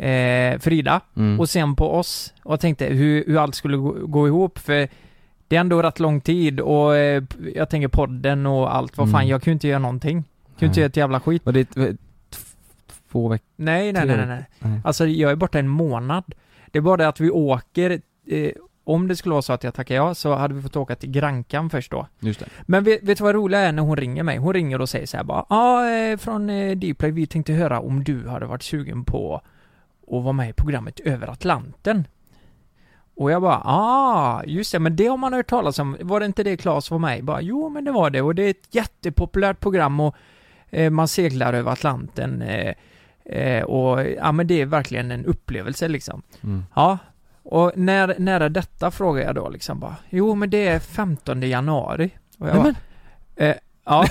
Speaker 2: eh, Frida
Speaker 3: Mm.
Speaker 2: och sen på oss och tänkte hur, hur allt skulle gå, gå ihop för det är ändå rätt lång tid och eh, p- jag tänker podden och allt, vad fan
Speaker 3: Mm.
Speaker 2: jag kunde inte göra någonting. Kunde
Speaker 3: Nej.
Speaker 2: inte göra ett jävla skit.
Speaker 3: Och det Eh, är t- t- två veckor.
Speaker 2: Nej, nej, nej, nej, nej. Alltså jag är borta en månad. Det är bara det att vi åker, eh, om det skulle vara så att jag tackar ja, så hade vi fått åka till Grankan först då.
Speaker 3: Just det.
Speaker 2: Men vet, vet du vad roligt är när hon ringer mig? Hon ringer och säger så här bara, ja, ah, eh, från eh, Dplay, vi tänkte höra om du hade varit sugen på att vara med i programmet Över Atlanten. Och jag bara, ah, just det, men det har man hört talas om. Var det inte det Claes var med i? Bara, jo, men det var det och det är ett jättepopulärt program och eh, man seglar över Atlanten eh, eh, och ja, men det är verkligen en upplevelse liksom.
Speaker 3: Mm.
Speaker 2: Ja, och när, när är detta frågar jag då liksom bara, jo men det är 15 januari. Och jag
Speaker 3: Nej,
Speaker 2: bara, eh, ja,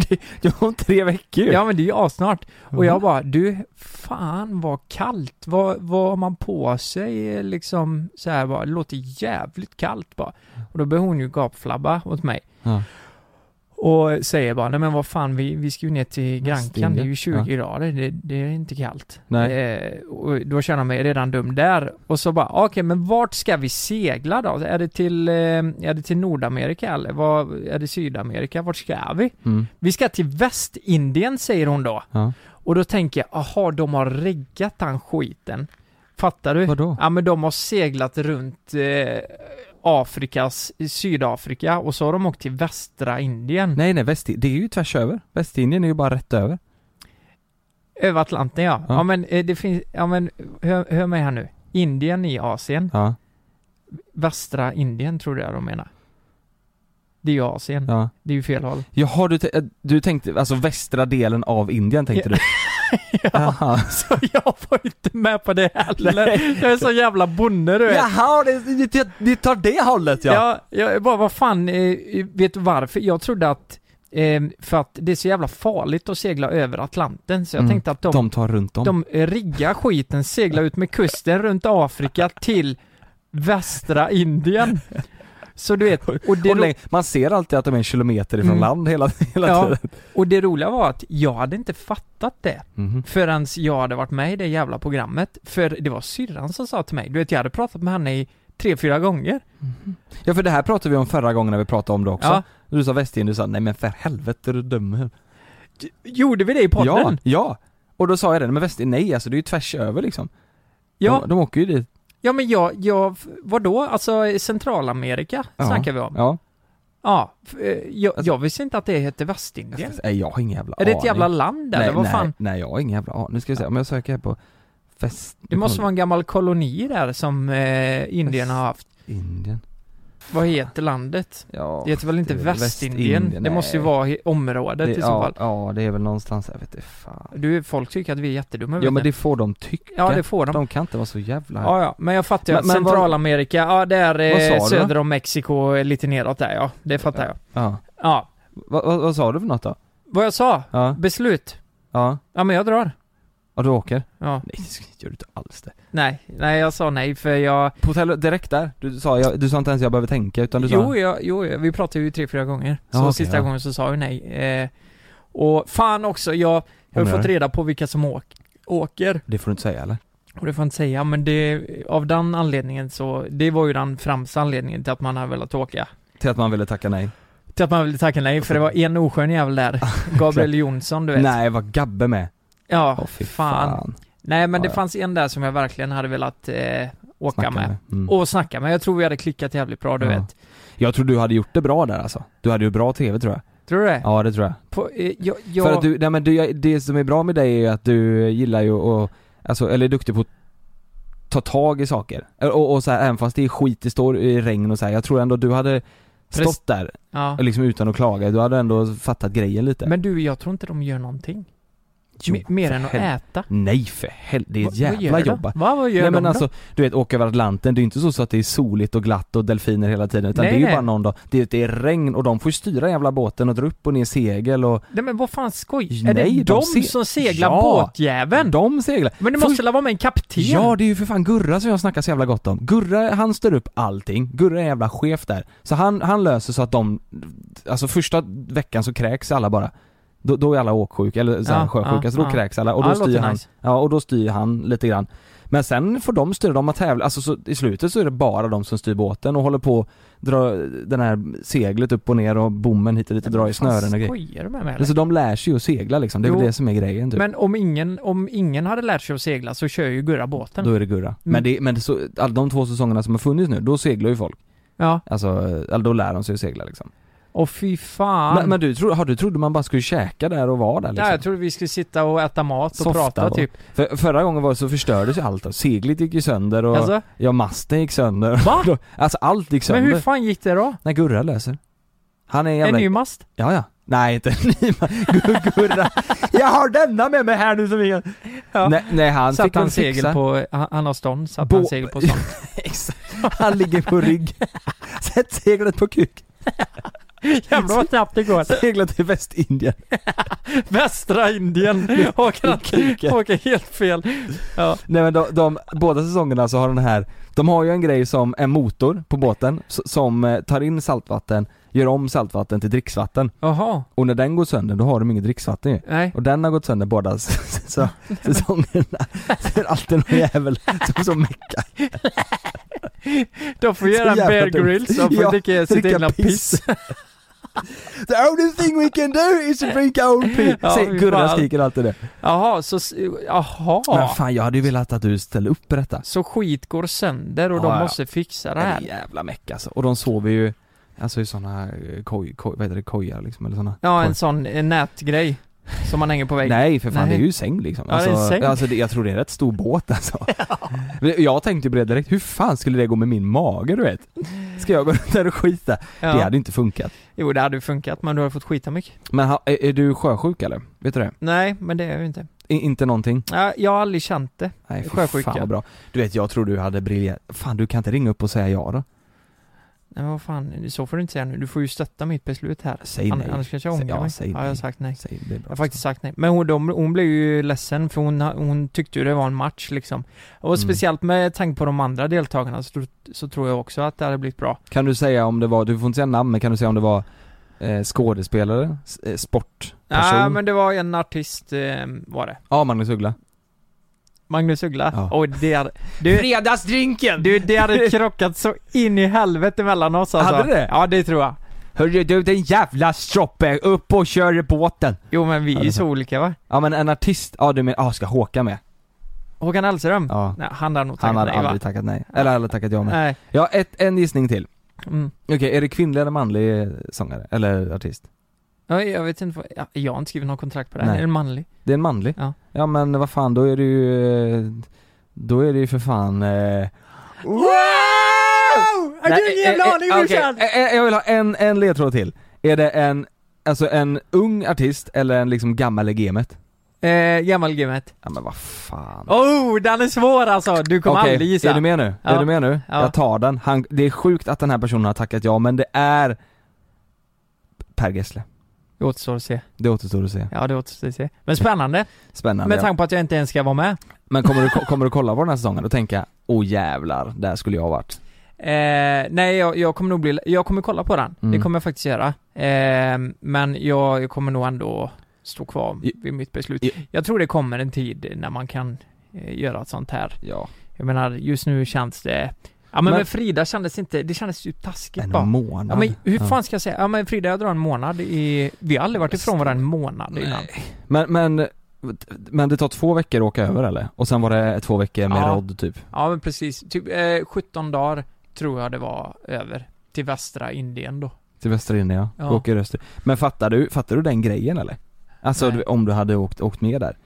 Speaker 3: Det var om tre veckor ju.
Speaker 2: ja men det är ju assnart. Och jag
Speaker 3: Mm.
Speaker 2: bara, du, fan vad kallt, vad, vad har man på sig eh, liksom så här bara, det låter jävligt kallt bara. Och då börjar hon ju gapflabba åt mig.
Speaker 3: Ja.
Speaker 2: Och säger bara, nej men vad fan, vi, vi ska ju ner till Grankan, det är ju 20
Speaker 3: Ja.
Speaker 2: grader, det, det är inte kallt.
Speaker 3: Nej.
Speaker 2: Eh, och då känner jag mig redan dum där. Och så bara, "Ah, okej men vart ska vi segla då? Är det till, eh, är det till Nordamerika eller? Vad, är det Sydamerika? Vart ska vi?
Speaker 3: Mm.
Speaker 2: Vi ska till Västindien säger hon då.
Speaker 3: Ja.
Speaker 2: Och då tänker jag, aha de har reggat den skiten. Fattar du?
Speaker 3: Vadå?
Speaker 2: Ja men de har seglat runt eh, Afrikas, Sydafrika och så har de åkt till västra Indien.
Speaker 3: Nej nej, väst, det är ju tvärs över. Västindien är ju bara rätt över.
Speaker 2: Över Atlanten ja. ja.
Speaker 3: Ja.
Speaker 2: men eh, det finns, ja men hör, hör mig här nu. Indien i Asien,
Speaker 3: Ja,
Speaker 2: västra Indien tror jag de menar. Det är ju Asien,
Speaker 3: ja.
Speaker 2: det är ju fel håll.
Speaker 3: Jaha, du, t- eh, du tänkte, alltså västra delen av Indien tänkte du? Jaha.
Speaker 2: Så jag var inte med på det heller. Jag är så jävla bonde du vet.
Speaker 3: Jaha, det, det, det tar det hållet ja.
Speaker 2: Ja, jag bara vad fan, eh, vet du varför? Jag trodde att, eh, för att det är så jävla farligt att segla över Atlanten så jag
Speaker 3: Mm,
Speaker 2: tänkte att de, de,
Speaker 3: De tar runt om.
Speaker 2: eh, riggar skiten, seglar ut med kusten runt Afrika till västra Indien. Så du vet, och det,
Speaker 3: och
Speaker 2: ro-
Speaker 3: läng- man ser alltid att de är en kilometer ifrån
Speaker 2: Mm.
Speaker 3: land hela, hela
Speaker 2: Ja.
Speaker 3: tiden.
Speaker 2: och det roliga var att jag hade inte fattat det
Speaker 3: Mhm.
Speaker 2: förrän jag hade varit med i det jävla programmet. För det var syrran som sa till mig, du vet jag hade pratat med henne i tre, fyra gånger.
Speaker 3: Ja för det här pratade vi om förra gången när vi pratade om det också.
Speaker 2: Ja.
Speaker 3: Du sa Västindien, du sa nej men för helvete du dum
Speaker 2: Gjorde vi det i podden?
Speaker 3: Ja, ja! Och då sa jag det, men Väster, nej alltså det är ju tvärs över liksom.
Speaker 2: Ja.
Speaker 3: De, de åker ju dit.
Speaker 2: Ja men jag, jag, vadå? Alltså i Centralamerika
Speaker 3: Ja.
Speaker 2: snackar vi om.
Speaker 3: Ja. Alltså-
Speaker 2: Ja, f- eh, jag, jag visste inte att det hette Västindien.
Speaker 3: Nej jag har ingen jävla
Speaker 2: Är det ett
Speaker 3: aning.
Speaker 2: jävla land där,
Speaker 3: nej,
Speaker 2: eller vad
Speaker 3: nej,
Speaker 2: fan?
Speaker 3: Nej, jag har ingen jävla aning. Nu ska vi se, om jag söker här på fest...
Speaker 2: Det måste vara en gammal koloni där som eh, Indien har haft.
Speaker 3: Indien.
Speaker 2: Vad heter landet? det heter väl inte
Speaker 3: det är
Speaker 2: Västindien?
Speaker 3: Västindien,
Speaker 2: det måste ju
Speaker 3: nej.
Speaker 2: vara i området
Speaker 3: Det,
Speaker 2: i så
Speaker 3: ja,
Speaker 2: fall.
Speaker 3: ja, det är väl någonstans, jag vet inte fan.
Speaker 2: Du, folk tycker att vi är jättedumma.
Speaker 3: Ja
Speaker 2: vet
Speaker 3: men
Speaker 2: ni.
Speaker 3: det får de tycka.
Speaker 2: Ja, det får de.
Speaker 3: De kan inte vara så jävla...
Speaker 2: Ja, ja, men jag fattar ju
Speaker 3: Men-
Speaker 2: att
Speaker 3: men vad-
Speaker 2: Centralamerika, ja det är
Speaker 3: Vad sa
Speaker 2: eh,
Speaker 3: du då?
Speaker 2: söder om Mexiko, eh, lite nedåt där ja. Det fattar jag.
Speaker 3: Ja.
Speaker 2: Ja.
Speaker 3: Vad, vad, vad sa du för något då?
Speaker 2: Vad jag sa?
Speaker 3: Ja.
Speaker 2: Beslut?
Speaker 3: Ja.
Speaker 2: Ja men jag drar.
Speaker 3: Ja, du åker?
Speaker 2: Ja.
Speaker 3: Nej, det gör du inte alls det.
Speaker 2: Nej, nej jag sa nej för jag...
Speaker 3: På hotell, direkt där? Du sa, jag, du sa inte ens jag behöver tänka utan du sa...
Speaker 2: Jo, jag, jo, jag- vi pratade ju tre, fyra gånger. Så
Speaker 3: Ja, okej,
Speaker 2: sista
Speaker 3: ja.
Speaker 2: gången så sa jag nej. Eh, och fan också, jag, jag har
Speaker 3: Ångrar
Speaker 2: ju fått
Speaker 3: dig.
Speaker 2: reda på vilka som åk, åker.
Speaker 3: Det får du inte säga eller?
Speaker 2: Och det får jag inte säga, men det, av den anledningen så, det var ju den främsta anledningen till att man har velat åka.
Speaker 3: Till att man ville tacka nej?
Speaker 2: Till att man ville tacka nej, för det var en oskön jävel där. Gabriel Jonsson, du vet.
Speaker 3: Nej, var Gabbe med?
Speaker 2: Ja,
Speaker 3: fy
Speaker 2: fan. Nej, men
Speaker 3: Ja,
Speaker 2: det
Speaker 3: ja.
Speaker 2: fanns en där som jag verkligen hade velat eh, åka
Speaker 3: Snacka
Speaker 2: med.
Speaker 3: med. Mm.
Speaker 2: Och snacka med. Jag tror vi hade klickat jävligt bra, du
Speaker 3: Ja.
Speaker 2: vet.
Speaker 3: Jag tror du hade gjort det bra där alltså. Du hade ju bra TV tror jag.
Speaker 2: Tror du det?
Speaker 3: Ja, det tror jag.
Speaker 2: På, eh, jag, jag...
Speaker 3: För att du, nej men du, det som är bra med dig är ju att du gillar ju att, alltså, eller är duktig på att ta tag i saker. Och, och så här, även fast det är skit, det står i regn och så här, jag tror ändå du hade
Speaker 2: Prest-
Speaker 3: stått där,
Speaker 2: Ja.
Speaker 3: liksom utan att klaga, du hade ändå fattat grejen lite.
Speaker 2: Men du, jag tror inte de gör någonting.
Speaker 3: Jo,
Speaker 2: Me- mer
Speaker 3: för
Speaker 2: än att
Speaker 3: hel-
Speaker 2: äta.
Speaker 3: Nej för helvete, det är
Speaker 2: Vad-
Speaker 3: ett
Speaker 2: vad gör
Speaker 3: jävla
Speaker 2: de?
Speaker 3: jobb.
Speaker 2: Va? Vad gör
Speaker 3: Nej men
Speaker 2: de då?
Speaker 3: alltså, du vet åka över Atlanten, det är ju inte så, så att det är soligt och glatt och delfiner hela tiden utan
Speaker 2: Nej,
Speaker 3: det är ju
Speaker 2: nej.
Speaker 3: bara någon dag, det, det är regn och de får ju styra jävla båten och dra upp och ner segel och
Speaker 2: Nej men vad fan skoj?
Speaker 3: Nej,
Speaker 2: är det de,
Speaker 3: se-
Speaker 2: som seglar
Speaker 3: ja,
Speaker 2: båtjäveln?
Speaker 3: De seglar.
Speaker 2: Men det
Speaker 3: Först-
Speaker 2: måste väl vara med en kapten?
Speaker 3: Ja, det är ju för fan Gurra som jag snackar så jävla gott om. Gurra, han styr upp allting. Gurra är en jävla chef där. Så han, han löser så att de, alltså första veckan så kräks alla bara. Då, då är alla åksjuka, eller så här,
Speaker 2: Ja,
Speaker 3: sjösjuka,
Speaker 2: ja,
Speaker 3: så då
Speaker 2: ja.
Speaker 3: kräks alla och
Speaker 2: Ja,
Speaker 3: då
Speaker 2: det
Speaker 3: styr
Speaker 2: låter
Speaker 3: han,
Speaker 2: nice.
Speaker 3: ja och då styr han lite grann. Men sen får de styra, de har tävlat, alltså så, i slutet så är det bara de som styr båten och håller på att dra den här seglet upp och ner och bommen hit och dit och dra i
Speaker 2: Fan,
Speaker 3: snören och grejer.
Speaker 2: Skojar du med mig eller?
Speaker 3: Alltså de lär sig ju att segla liksom, det är väl
Speaker 2: Jo.
Speaker 3: det som är grejen typ.
Speaker 2: Men om ingen, om ingen hade lärt sig att segla så kör ju Gurra båten.
Speaker 3: Då är det Gurra.
Speaker 2: Mm.
Speaker 3: Men, det, men det, så, all, de två säsongerna som har funnits nu, då seglar ju folk.
Speaker 2: Ja.
Speaker 3: Alltså, eller då lär de sig att segla liksom.
Speaker 2: Och fy fan.
Speaker 3: Men, men du, tro, har du trodde man bara skulle käka där och vara där liksom?
Speaker 2: Ja, jag trodde vi skulle sitta och äta mat och
Speaker 3: Softa
Speaker 2: prata
Speaker 3: och-
Speaker 2: typ.
Speaker 3: För, förra gången var det så förstördes ju allt då. Seglet gick ju sönder och,
Speaker 2: Alltså?
Speaker 3: ja masten gick sönder.
Speaker 2: Va?
Speaker 3: Då- alltså allt gick sönder.
Speaker 2: Men hur fan gick det då?
Speaker 3: När Gurra löser. Han är en
Speaker 2: En
Speaker 3: jävla...
Speaker 2: ny mast?
Speaker 3: Ja, ja. Nej, inte en ny mast. Gu- Gurra. Jag har denna med mig här nu som ingen...
Speaker 2: Ja.
Speaker 3: Nej, nej, han
Speaker 2: satt
Speaker 3: fick
Speaker 2: han
Speaker 3: väl
Speaker 2: segel
Speaker 3: fixa.
Speaker 2: på, han, han har stånd, satt
Speaker 3: Bå-
Speaker 2: han segel på stånd.
Speaker 3: Han ligger på rygg. Sätt seglet på kuk.
Speaker 2: Jävlar vad snabbt det går.
Speaker 3: Segla till Västindien.
Speaker 2: Västra Indien. Åker, han- åker helt fel. Ja.
Speaker 3: Nej men de, de, båda säsongerna så har den här, de har ju en grej som en motor på båten s- som eh, tar in saltvatten, gör om saltvatten till dricksvatten.
Speaker 2: Jaha.
Speaker 3: Och när den går sönder då har de inget dricksvatten ju.
Speaker 2: Nej.
Speaker 3: Och den har gått sönder båda s- s- så, säsongerna. Så är det alltid någon jävel som, som meckar.
Speaker 2: De får göra en
Speaker 3: Så jävla
Speaker 2: Bear
Speaker 3: dumt.
Speaker 2: Grylls och får
Speaker 3: Ja,
Speaker 2: dricka sitt
Speaker 3: dricka
Speaker 2: egna
Speaker 3: piss.
Speaker 2: piss.
Speaker 3: The only thing we can do is to drink our own pee.
Speaker 2: Ja,
Speaker 3: Ja,
Speaker 2: fy
Speaker 3: Gurra
Speaker 2: fan.
Speaker 3: skriker alltid det.
Speaker 2: Jaha, så, s- jaha.
Speaker 3: Men fan jag hade ju velat att du ställde upp på detta.
Speaker 2: Så skit går sönder och
Speaker 3: Ja,
Speaker 2: de
Speaker 3: ja.
Speaker 2: måste fixa det
Speaker 3: Ja, det är
Speaker 2: här.
Speaker 3: jävla meck alltså. Och de sover ju, alltså i såna eh, koj, koj, vad heter det, kojar liksom eller såna
Speaker 2: Ja,
Speaker 3: koj-
Speaker 2: en sån en nätgrej som man hänger på väggen.
Speaker 3: Nej för fan
Speaker 2: Nej.
Speaker 3: det är ju säng liksom.
Speaker 2: Ja, det är en säng.
Speaker 3: alltså det, jag tror det är en rätt stor båt alltså. Men Jag tänkte ju på det direkt, hur fan skulle det gå med min mage du vet? Ska jag gå runt där och skita?
Speaker 2: Ja.
Speaker 3: Det hade inte funkat.
Speaker 2: Jo, det hade ju funkat men du har fått skita mycket.
Speaker 3: Men ha, är, är du sjösjuk eller? Vet du det?
Speaker 2: Nej, men det är jag ju inte.
Speaker 3: I, inte någonting?
Speaker 2: Ja, Jag har aldrig känt det.
Speaker 3: Nej fy
Speaker 2: Sjösjuka.
Speaker 3: fan vad bra. Du vet jag tror du hade briljerat, fan du kan inte ringa upp och säga ja då?
Speaker 2: Nej, men vad fan, så får du inte säga nu. Du får ju stötta mitt beslut här.
Speaker 3: Säg
Speaker 2: An-
Speaker 3: nej.
Speaker 2: Annars kanske jag
Speaker 3: Säg-
Speaker 2: ångrar
Speaker 3: ja,
Speaker 2: mig.
Speaker 3: säg
Speaker 2: ja, jag har
Speaker 3: nej.
Speaker 2: sagt nej.
Speaker 3: Säg, det är bra.
Speaker 2: Jag har faktiskt sagt nej. Men hon, de, hon blev ju ledsen för hon, hon tyckte ju det var en match liksom. Och
Speaker 3: Mm.
Speaker 2: speciellt med tanke på de andra deltagarna så, tro- så tror jag också att det hade blivit bra.
Speaker 3: Kan du säga om det var, du får inte säga namn men kan du säga om det var eh, skådespelare, S- eh, sportperson?
Speaker 2: Nej men det var en artist, eh, var det.
Speaker 3: Ja, Magnus Uggla.
Speaker 2: Magnus Uggla.
Speaker 3: Ja.
Speaker 2: Och det hade... Du, Fredagsdrinken! Du, det hade krockat så in i helvete mellan oss alltså.
Speaker 3: Hade det?
Speaker 2: Ja det tror jag.
Speaker 3: Hörru du den jävla stroppe, upp och kör båten!
Speaker 2: Jo men vi är ju så olika va?
Speaker 3: Ja men en artist, ja du menar, ja ska Håkan med?
Speaker 2: Håkan Hellström?
Speaker 3: Ja.
Speaker 2: Nej, han har nog tackat
Speaker 3: Han hade
Speaker 2: nej, va?
Speaker 3: aldrig tackat nej, eller aldrig tackat ja men.
Speaker 2: Nej.
Speaker 3: Jag har ett, en gissning till.
Speaker 2: Mm.
Speaker 3: Okej, är det kvinnlig eller manlig eh, sångare, eller artist?
Speaker 2: Ja, jag vet inte vad, ja, jag har inte skrivit något kontrakt på det här.
Speaker 3: Nej.
Speaker 2: Är det manlig?
Speaker 3: Det är en manlig? Ja. Ja men vad fan, då är det ju, eh, då är det ju för fan eh,
Speaker 2: Wow! Har du ingen jävla aning brorsan?
Speaker 3: eh, Jag vill ha en, en ledtråd till. Är det en, alltså en ung artist eller en liksom gammal i gamet?
Speaker 2: Eh, gammal gymmet.
Speaker 3: Ja men vad fan.
Speaker 2: Oh, den är svår alltså! Du kommer
Speaker 3: Okej,
Speaker 2: aldrig gissa.
Speaker 3: är du med nu?
Speaker 2: Ja.
Speaker 3: Är du med nu?
Speaker 2: Ja.
Speaker 3: Jag tar den. Han, det är sjukt att den här personen har tackat ja men det är Per Gessle.
Speaker 2: Det återstår att se.
Speaker 3: Det återstår att se.
Speaker 2: Ja, det återstår att se. Men spännande.
Speaker 3: Spännande.
Speaker 2: Med
Speaker 3: ja.
Speaker 2: tanke på att jag inte ens ska vara med.
Speaker 3: Men kommer du, kommer du kolla på den här säsongen och tänka åh jävlar, där skulle jag ha varit.
Speaker 2: Eh, nej, jag, jag kommer nog bli, jag kommer kolla på den.
Speaker 3: Mm.
Speaker 2: Det kommer jag faktiskt göra. Eh, men jag, jag kommer nog ändå stå kvar vid mitt beslut. Jag tror det kommer en tid när man kan eh, göra ett sånt här.
Speaker 3: Ja.
Speaker 2: Jag menar, just nu känns det Ja men,
Speaker 3: Men-
Speaker 2: med Frida kändes inte, det kändes ju taskigt
Speaker 3: En
Speaker 2: bara.
Speaker 3: månad.
Speaker 2: Ja, men hur
Speaker 3: Ja.
Speaker 2: fan ska jag säga? Ja men Frida jag drar en månad i, vi har aldrig varit ifrån varandra en månad innan.
Speaker 3: Men, men, men det tar två veckor att åka över eller? Och sen var det två veckor med
Speaker 2: Ja.
Speaker 3: rodd typ?
Speaker 2: Ja men precis, typ eh, 17 dagar tror jag det var över till västra Indien då. Mm.
Speaker 3: Till västra Indien ja,
Speaker 2: Ja.
Speaker 3: Och åker öster. Men fattar du, fattar du den grejen eller? Alltså du, om du hade åkt, åkt med där.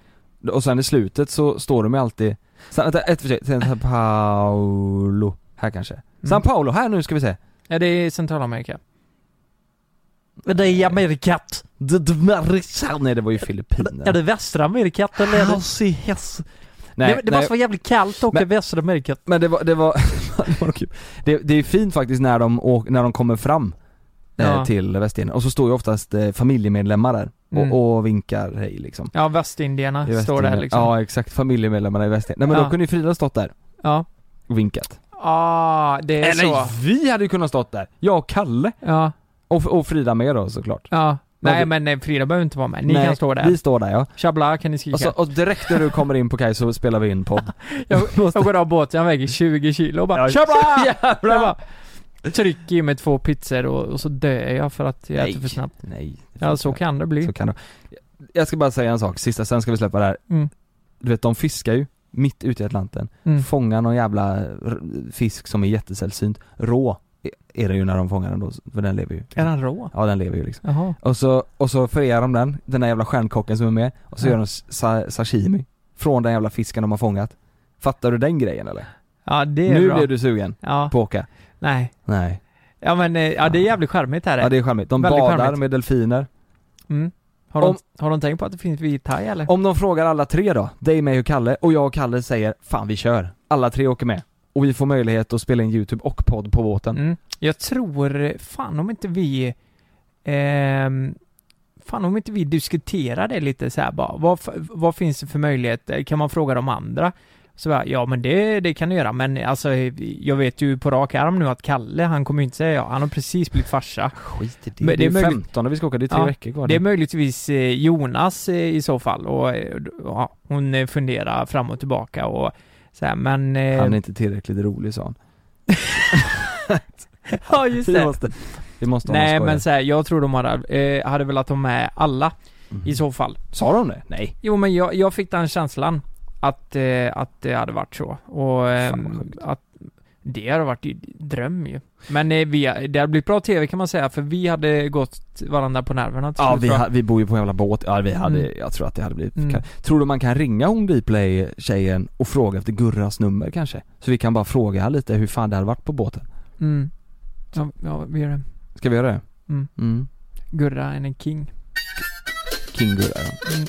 Speaker 3: Och sen i slutet så står de ju alltid, sen, vänta, ett för sig, sen San Paulo, här kanske. San Paulo, här nu ska vi se.
Speaker 2: Ja det är Centralamerika.
Speaker 4: Det är Amerikat.
Speaker 3: D- d- Marisa- Nej det var ju Filippinerna.
Speaker 4: Är det västra Amerikat eller? är det-
Speaker 3: Nej,
Speaker 4: det det
Speaker 3: nej.
Speaker 4: måste vara jävligt kallt att åka i västra Amerikat.
Speaker 3: Men det var, det var, det, var kul. det, det är fint faktiskt när de, åk, när de kommer fram eh,
Speaker 2: Ja.
Speaker 3: till Västindien, och så står ju oftast eh, familjemedlemmar där och,
Speaker 2: Mm.
Speaker 3: och vinkar hej liksom
Speaker 2: Ja västindierna
Speaker 3: I
Speaker 2: står där
Speaker 3: Västindien.
Speaker 2: liksom.
Speaker 3: Ja exakt, familjemedlemmarna i Västindien. Nej men
Speaker 2: Ja.
Speaker 3: då kunde ju Frida stått där
Speaker 2: Ja.
Speaker 3: och vinkat
Speaker 2: Ah, det är
Speaker 3: Eller
Speaker 2: så.
Speaker 3: vi hade ju kunnat stått där, jag och Kalle
Speaker 2: Ja.
Speaker 3: och, och Frida med då såklart
Speaker 2: Ja.
Speaker 3: Men
Speaker 2: Nej
Speaker 3: vi-
Speaker 2: men nej, Frida behöver inte vara med, ni
Speaker 3: Nej,
Speaker 2: kan stå där.
Speaker 3: vi står där ja
Speaker 2: Tjabla kan ni skrika.
Speaker 3: och, så, och direkt när du kommer in på kaj så spelar vi in podd
Speaker 2: Jag, jag går av båten, jag väger 20 kilo och bara
Speaker 3: Ja.
Speaker 2: tjabla!
Speaker 3: Jävlar.
Speaker 2: Jag bara, Trycker i mig två pizzor och, och så dör jag för att jag
Speaker 3: Nej.
Speaker 2: äter för snabbt.
Speaker 3: Nej
Speaker 2: Ja så kan det bli.
Speaker 3: Så kan det. Jag ska bara säga en sak, sista, sen ska vi släppa det här.
Speaker 2: Mm.
Speaker 3: Du vet de fiskar ju, mitt ute i Atlanten,
Speaker 2: Mm.
Speaker 3: fångar någon jävla r- fisk som är jättesällsynt, rå är- är det ju när de fångar den då, för den lever ju.
Speaker 2: Är den rå?
Speaker 3: Ja den lever ju liksom.
Speaker 2: Jaha.
Speaker 3: Och så, och så förerar de den, den där jävla stjärnkocken som är med, och så
Speaker 2: Ja.
Speaker 3: gör de sa- sashimi från den jävla fisken de har fångat. Fattar du den grejen eller?
Speaker 2: Ja det är
Speaker 3: nu
Speaker 2: bra.
Speaker 3: blev du sugen
Speaker 2: Ja.
Speaker 3: på att åka.
Speaker 2: Nej.
Speaker 3: Nej.
Speaker 2: Ja men, eh, ja det är jävligt charmigt här.
Speaker 3: Ja det är charmigt. De
Speaker 2: Väldigt
Speaker 3: badar
Speaker 2: charmigt.
Speaker 3: med delfiner.
Speaker 2: Mm. Har, de,
Speaker 3: Om-
Speaker 2: har de tänkt på att det finns vithaj eller?
Speaker 3: Om de frågar alla tre då, dig, mig och Kalle, och jag och Kalle säger 'Fan vi kör' Alla tre åker med. Och vi får möjlighet att spela in YouTube och podd på båten.
Speaker 2: Mm. Jag tror, eh, fan om inte vi... ehm, fan om inte vi diskuterar det lite så här bara. Vad, f- vad finns det för möjligheter? Kan man fråga de andra? Så bara, ja men det, det kan du göra men alltså eh, jag vet ju på rak arm nu att Kalle han kommer ju inte säga ja. Han har precis blivit farsa.
Speaker 3: Skit i det.
Speaker 2: Men
Speaker 3: det är,
Speaker 2: möjligt-
Speaker 3: 15 vi ska åka, det är tre
Speaker 2: Ja,
Speaker 3: veckor kvar.
Speaker 2: Det är möjligtvis eh, Jonas eh, i så fall och eh, ja, hon eh, funderar fram och tillbaka och så här, men... eh,
Speaker 3: Han är inte tillräckligt rolig sa han.
Speaker 2: ja just
Speaker 3: Vi
Speaker 2: det.
Speaker 3: måste, vi måste ha någon
Speaker 2: Nej
Speaker 3: skojare.
Speaker 2: men så här, jag tror de hade, eh, hade velat ha med alla i så fall.
Speaker 3: Mm. Sa de det? Nej.
Speaker 2: Jo men jag, jag fick den känslan att, eh, att det hade varit så. Och
Speaker 3: Fan,
Speaker 2: ehm,
Speaker 3: vad sjukt.
Speaker 2: att det hade varit i- dröm ju. Men eh, vi, det hade blivit bra TV kan man säga för vi hade gått varandra på nerverna till
Speaker 3: Ja
Speaker 2: slut,
Speaker 3: vi,
Speaker 2: tror jag.
Speaker 3: ha, vi bor ju på en jävla båt, ja vi hade,
Speaker 2: Mm.
Speaker 3: jag tror att det hade blivit
Speaker 2: Mm.
Speaker 3: kan, Tror du man kan ringa hon Dplay-tjejen och fråga efter Gurras nummer kanske? Så vi kan bara fråga lite hur fan det hade varit på båten.
Speaker 2: Mm. Ja, ja, vi gör det.
Speaker 3: Ska vi göra det?
Speaker 2: Mm.
Speaker 3: Mm.
Speaker 2: Gurra är en king.
Speaker 3: King Gurra ja.
Speaker 2: Mm.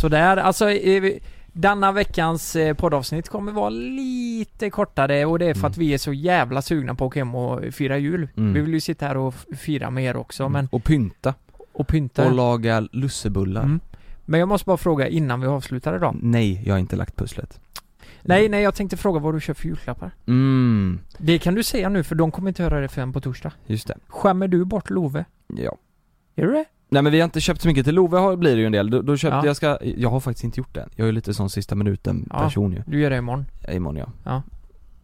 Speaker 2: Sådär, alltså eh, vi- denna veckans eh, poddavsnitt kommer vara lite kortare och det är för att vi är så jävla sugna på att åka hem och fira jul.
Speaker 3: Mm.
Speaker 2: Vi vill ju sitta här och f- fira med er också men,
Speaker 3: Och pynta.
Speaker 2: och pynta.
Speaker 3: Och laga lussebullar.
Speaker 2: Mm. men jag måste bara fråga innan vi avslutar idag.
Speaker 3: Nej, jag har inte lagt pusslet.
Speaker 2: Nej, nej jag tänkte fråga vad du köper för julklappar.
Speaker 3: Mm,
Speaker 2: Det kan du säga nu för de kommer inte höra det förrän på torsdag.
Speaker 3: just det.
Speaker 2: Skämmer du bort Love?
Speaker 3: Ja.
Speaker 2: Gör du det?
Speaker 3: Nej men vi har inte köpt så mycket, till Love har, blir det ju en del. Då, då köpte
Speaker 2: Ja.
Speaker 3: jag, ska, jag har faktiskt inte gjort det än. Jag är ju lite sån sista minuten
Speaker 2: Ja.
Speaker 3: person ju.
Speaker 2: Du gör det imorgon.
Speaker 3: Imorgon ja.
Speaker 2: Ja.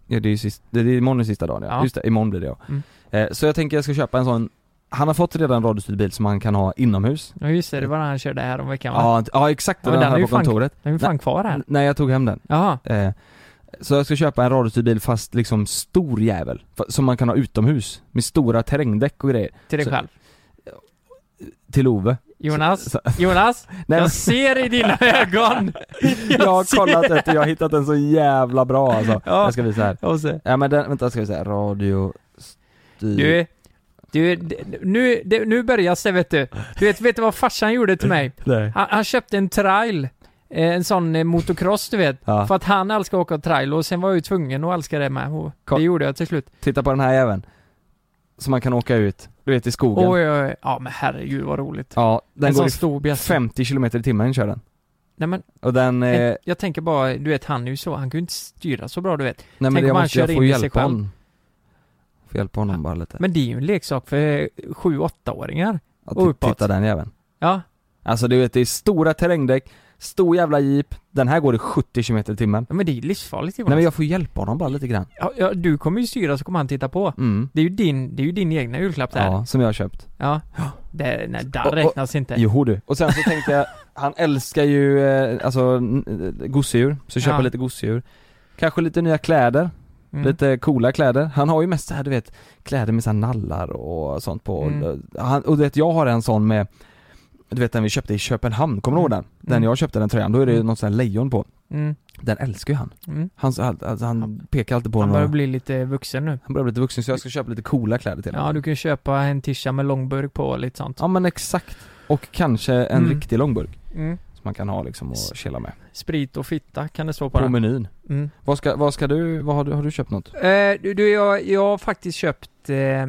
Speaker 3: ja, det är ju sist, det är imorgon är sista dagen ja.
Speaker 2: Ja.
Speaker 3: Just det, imorgon blir det ja.
Speaker 2: Mm.
Speaker 3: Eh, så jag tänker jag ska köpa en sån, han har fått redan en radiostyrd bil som han kan ha inomhus.
Speaker 2: Ja just det, det var när han körde här om veckan va?
Speaker 3: Ja, ja exakt,
Speaker 2: Ja,
Speaker 3: den,
Speaker 2: men
Speaker 3: den
Speaker 2: är
Speaker 3: här
Speaker 2: ju
Speaker 3: på
Speaker 2: fan-
Speaker 3: kontoret.
Speaker 2: Den är ju fan
Speaker 3: Nej.
Speaker 2: kvar här.
Speaker 3: Nej jag tog hem den.
Speaker 2: Jaha.
Speaker 3: Eh, så jag ska köpa en radiostyrd bil fast liksom stor jävel, fa- som man kan ha utomhus. Med stora terrängdäck och grejer.
Speaker 2: Till dig
Speaker 3: så,
Speaker 2: själv.
Speaker 3: Till Ove.
Speaker 2: Jonas, Jonas, jag ser i dina ögon.
Speaker 3: Jag, har
Speaker 2: ser-
Speaker 3: kollat efter, jag har hittat en så jävla bra alltså.
Speaker 2: Ja.
Speaker 3: Jag ska visa här.
Speaker 2: Jag ser.
Speaker 3: Ja men den, vänta jag ska vi säga radio... Styr...
Speaker 2: Du, du, d- nu, det- nu börjar det vet du. Du vet, vet du vad farsan gjorde till mig?
Speaker 3: Nej.
Speaker 2: Han, han köpte en trail. eh, En sån eh, motocross du vet.
Speaker 3: Ja.
Speaker 2: För att han älskar att åka trail och sen var jag ju tvungen att älska det med. Och det gjorde jag till slut.
Speaker 3: Titta på den här jäveln. Som man kan åka ut, du vet i skogen.
Speaker 2: Oj, oj, oj. eh, Ja men herregud vad roligt.
Speaker 3: Ja, den
Speaker 2: En
Speaker 3: går
Speaker 2: sån
Speaker 3: i
Speaker 2: stor bjässe.
Speaker 3: 50 km i timmen kör den.
Speaker 2: Nej men,
Speaker 3: Och den, eh,
Speaker 2: en- jag tänker bara, du vet han är ju så, han kan ju inte styra så bra du vet.
Speaker 3: nej men
Speaker 2: Tänk om
Speaker 3: jag,
Speaker 2: han
Speaker 3: måste,
Speaker 2: kör
Speaker 3: jag får
Speaker 2: in i sig
Speaker 3: hjälpa
Speaker 2: själv.
Speaker 3: honom. Får hjälpa honom bara lite.
Speaker 2: Men det är ju en leksak för 7-8-åringar.
Speaker 3: Att
Speaker 2: och uppåt.
Speaker 3: titta den jäveln.
Speaker 2: Ja.
Speaker 3: Alltså du vet, det är stora terrängdäck, stor jävla jeep, den här går i 70 km i timmen.
Speaker 2: Ja men det är ju livsfarligt Jonas.
Speaker 3: Nej men jag får hjälpa honom bara lite grann.
Speaker 2: ja, ja, du kommer ju styra så kommer han titta på.
Speaker 3: Mm.
Speaker 2: Det är ju din, det är ju din egna julklapp där.
Speaker 3: Ja, som jag har köpt.
Speaker 2: Ja. Det, nej, där
Speaker 3: Och- och-
Speaker 2: räknas inte.
Speaker 3: Jo du. Och sen så tänkte jag, han älskar ju eh, alltså n- eh, gosedjur, så köpa
Speaker 2: Ja.
Speaker 3: lite gosedjur. Kanske lite nya kläder,
Speaker 2: Mm.
Speaker 3: lite coola kläder. Han har ju mest så här, du vet, kläder med så här nallar och sånt på.
Speaker 2: Mm.
Speaker 3: Han, och du vet, jag har en sån med, du vet den vi köpte i Köpenhamn, kommer du ihåg den? Den
Speaker 2: Mm.
Speaker 3: jag köpte den tröjan, då är det ju något sånt här lejon på.
Speaker 2: Mm.
Speaker 3: Den älskar ju han.
Speaker 2: Mm.
Speaker 3: Han, alltså, han pekar alltid på
Speaker 2: Han börjar
Speaker 3: honom.
Speaker 2: bli lite vuxen nu.
Speaker 3: Han börjar bli lite vuxen så jag ska köpa lite coola kläder till honom.
Speaker 2: Ja, du kan ju köpa en tisha med långburk på och lite sånt.
Speaker 3: Ja men exakt. Och kanske en
Speaker 2: Mm.
Speaker 3: riktig långburk.
Speaker 2: Mm.
Speaker 3: Som man kan ha liksom och kela med.
Speaker 2: Sprit och fitta kan det stå på
Speaker 3: På
Speaker 2: den.
Speaker 3: menyn.
Speaker 2: Mm.
Speaker 3: Vad ska, vad ska du, vad har du, har du köpt något?
Speaker 2: Eh, du, du, jag, jag har faktiskt köpt eh,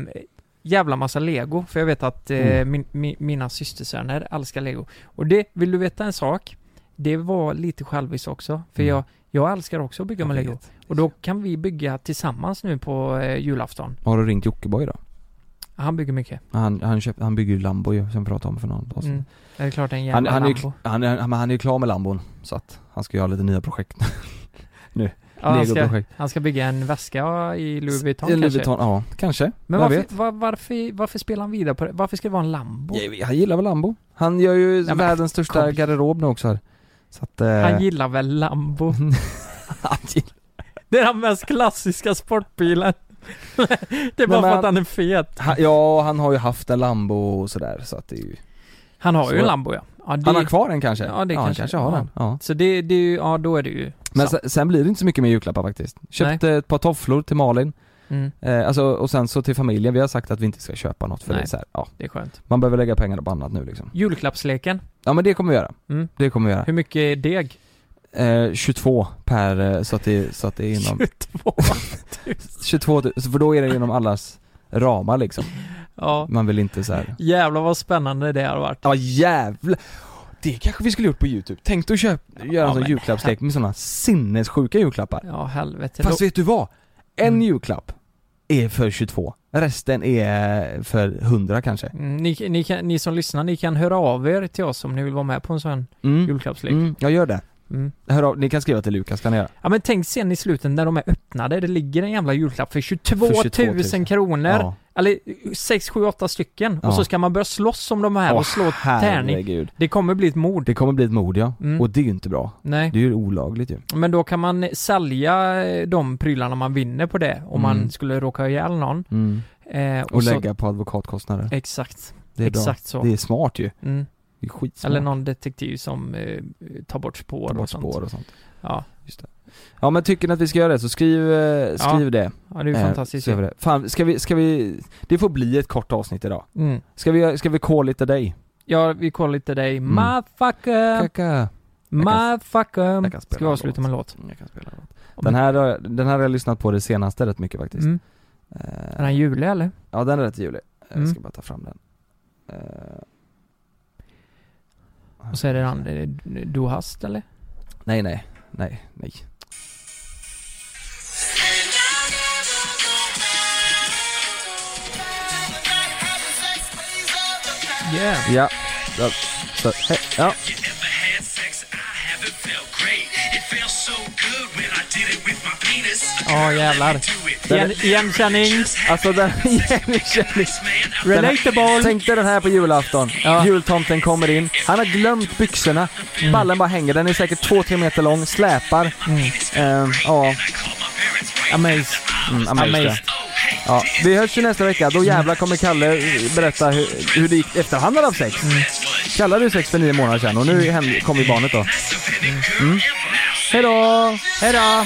Speaker 2: jävla massa lego, för jag vet att eh,
Speaker 3: Mm.
Speaker 2: min, mi, mina systersöner älskar lego. Och det, vill du veta en sak? Det var lite själviskt också, för
Speaker 3: Mm.
Speaker 2: jag, jag älskar också att bygga
Speaker 3: Jag
Speaker 2: med
Speaker 3: vet.
Speaker 2: lego. Och då kan vi bygga tillsammans nu på eh, julafton.
Speaker 3: Har du ringt Jockiboi då?
Speaker 2: Han bygger mycket.
Speaker 3: Han, han, köpt, han bygger ju Lambo ju, som vi pratade om för någon dag sedan.
Speaker 2: Mm. Det är klart en
Speaker 3: Han,
Speaker 2: jävla
Speaker 3: han, är ju,
Speaker 2: Lambo.
Speaker 3: han, är, han, han är ju klar med Lambon, så att han ska göra lite nya projekt.
Speaker 2: Ja, han, ska,
Speaker 3: legoprojekt.
Speaker 2: han ska bygga en väska i Louis Vuitton
Speaker 3: Louis
Speaker 2: kanske.
Speaker 3: Vuitton, ja, kanske.
Speaker 2: Men
Speaker 3: Vem
Speaker 2: varför,
Speaker 3: vet?
Speaker 2: var, varför, varför spelar han vidare på det? Varför ska det vara en Lambo?
Speaker 3: Jag- Han gillar väl Lambo? Han gör ju
Speaker 2: men-
Speaker 3: världens största
Speaker 2: kompis.
Speaker 3: garderob nu också här. Så att, eh,
Speaker 2: Han gillar väl Lambo? det är den mest klassiska sportbilen. det är bara
Speaker 3: men
Speaker 2: för att
Speaker 3: han-
Speaker 2: han är fet.
Speaker 3: han, ja, han har ju haft en Lambo och sådär, så att det är ju...
Speaker 2: Han har ju
Speaker 3: Så-
Speaker 2: en Lambo ja. ja det,
Speaker 3: Han har kvar en kanske?
Speaker 2: Ja, det
Speaker 3: han
Speaker 2: kanske-
Speaker 3: kanske har
Speaker 2: ja.
Speaker 3: den. Ja.
Speaker 2: Så det, det är ju, ja då är det ju
Speaker 3: Men
Speaker 2: sant.
Speaker 3: sen, sen blir det inte så mycket mer julklappar faktiskt. Köpte ett par tofflor till Malin,
Speaker 2: Mm,
Speaker 3: eh, alltså, och sen så till familjen, vi har sagt att vi inte ska köpa något för
Speaker 2: Nej.
Speaker 3: det är så här, ja.
Speaker 2: det är skönt.
Speaker 3: Man behöver lägga pengarna på annat nu liksom.
Speaker 2: Julklappsleken.
Speaker 3: Ja men det kommer vi göra.
Speaker 2: Mm.
Speaker 3: Det kommer vi göra.
Speaker 2: Hur mycket är deg?
Speaker 3: Eh, 22 per, eh, så att det, så att det är inom...
Speaker 2: 22
Speaker 3: 22 tu- för då är det inom allas ramar liksom.
Speaker 2: Ja.
Speaker 3: Man vill inte så här.
Speaker 2: Jävlar vad spännande det har varit.
Speaker 3: Ja jävlar! Det kanske vi skulle gjort på youtube. Tänk dig att köpa, göra en sån
Speaker 2: men-
Speaker 3: julklappslek med såna sinnessjuka julklappar.
Speaker 2: Ja helvete.
Speaker 3: Fast
Speaker 2: Då-
Speaker 3: vet du vad? En
Speaker 2: Mm.
Speaker 3: julklapp är för 22, resten är för 100 kanske.
Speaker 2: Mm, ni, ni, kan, ni som lyssnar, ni kan höra av er till oss om ni vill vara med på en sån
Speaker 3: Mm.
Speaker 2: julklappslek.
Speaker 3: Mm, jag gör det.
Speaker 2: Mm.
Speaker 3: Hör av, ni kan skriva till Lukas kan ni göra.
Speaker 2: Ja men tänk sen i slutet när de är öppnade, det ligger en jävla julklapp för 22,
Speaker 3: För 22 000
Speaker 2: 000 kronor.
Speaker 3: Ja.
Speaker 2: Eller 6, 7, 8 stycken.
Speaker 3: Ja.
Speaker 2: Och så ska man börja slåss om de här
Speaker 3: Åh,
Speaker 2: och slå tärning.
Speaker 3: herregud.
Speaker 2: Det kommer bli ett mord.
Speaker 3: Det kommer bli ett mord ja,
Speaker 2: Mm.
Speaker 3: och det är ju inte bra.
Speaker 2: Nej.
Speaker 3: Det är ju olagligt ju.
Speaker 2: Men då kan man sälja eh, de prylarna man vinner på det om
Speaker 3: Mm.
Speaker 2: man skulle råka ihjäl någon.
Speaker 3: Mm.
Speaker 2: Eh,
Speaker 3: Och, lägga på advokatkostnader.
Speaker 2: Så, exakt.
Speaker 3: Det är
Speaker 2: exakt
Speaker 3: bra.
Speaker 2: så.
Speaker 3: Det är smart ju.
Speaker 2: Mm.
Speaker 3: Det är skitsmart.
Speaker 2: Eller någon detektiv som eh, tar bort spår
Speaker 3: Ta bort
Speaker 2: och sånt.
Speaker 3: spår och sånt.
Speaker 2: Ja.
Speaker 3: Ja men tycker ni att vi ska göra det så skriv, eh, skriv det.
Speaker 2: ja, det är ju
Speaker 3: Eh,
Speaker 2: fantastiskt.
Speaker 3: så gör vi det. Fan, ska vi, ska vi, det får bli ett kort avsnitt idag.
Speaker 2: Mm.
Speaker 3: Ska vi, ska vi call lite dig?
Speaker 2: Ja, vi kollar lite dig. Motherfucker!
Speaker 3: Kaka. Mm. jag
Speaker 2: Motherfucker!
Speaker 3: kan spela
Speaker 2: Ska vi avsluta med en låt?
Speaker 3: Jag kan spela en låt. Den här, har- den här har jag lyssnat på det senaste rätt mycket faktiskt.
Speaker 2: Mm.
Speaker 3: Eh,
Speaker 2: Är den julig eller?
Speaker 3: ja den är rätt julig. Jag
Speaker 2: Mm.
Speaker 3: ska bara ta fram den. Eh,
Speaker 2: Och så är det den, eh, Du hast eller?
Speaker 3: nej nej, nej, nej.
Speaker 2: Yeah.
Speaker 3: Ja. Ja, så, hej, ja.
Speaker 6: You ever had sex? I haven't felt great. It felt so good when I did it with
Speaker 2: Ja, jävlar. Igen, igenkänning.
Speaker 3: Alltså den igenkänning.
Speaker 2: Relatable.
Speaker 3: Tänk dig den här på julafton. Jultomten kommer in. Han har glömt byxorna. Ballen bara hänger. Den är säkert två, tre meter lång. Släpar. Eh, ja.
Speaker 2: Amazed.
Speaker 3: Mm, amazed. Mm.
Speaker 2: Amazed.
Speaker 3: ja. Ja, vi hörs ju nästa vecka. Då jävlar kommer Kalle eh, berätta hur, hur det gick efter han hade haft sex. Kalle hade ju sex för nio månader sedan och nu händer- kommer ju barnet då. Mm. Hej då! Hej då!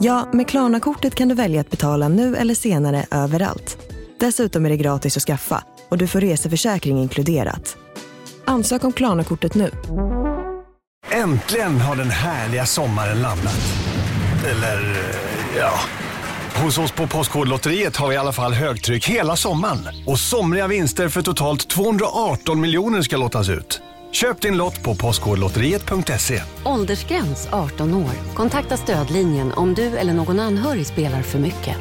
Speaker 1: Ja, med Klarna-kortet kan du välja att betala nu eller senare överallt. Dessutom är det gratis att skaffa och du får reseförsäkring inkluderat. Ansök om Klarna-kortet nu.
Speaker 7: Äntligen har den härliga sommaren landat. Eller, ja. Hos oss på Postkodlotteriet har vi i alla fall högtryck hela sommaren. Och somriga vinster för totalt 218 miljoner ska lottas ut. Köp din lott på postkodlotteriet.se.
Speaker 8: Åldersgräns 18 år. Kontakta stödlinjen om du eller någon anhörig spelar för mycket.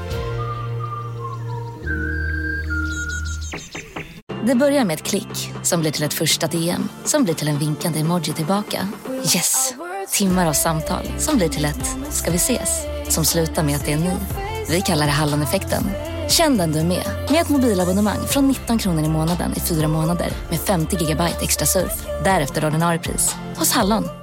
Speaker 9: Det börjar med ett klick som blir till ett första DM som blir till en vinkande emoji tillbaka. Yes! Timmar av samtal som blir till ett “ska vi ses?” som slutar med att det är ni. Vi kallar det Halloneffekten. Känn den du är med, med ett mobilabonnemang från 19 kronor i månaden i fyra månader med 50 gigabyte extra surf. Därefter ordinarie pris, hos Hallon.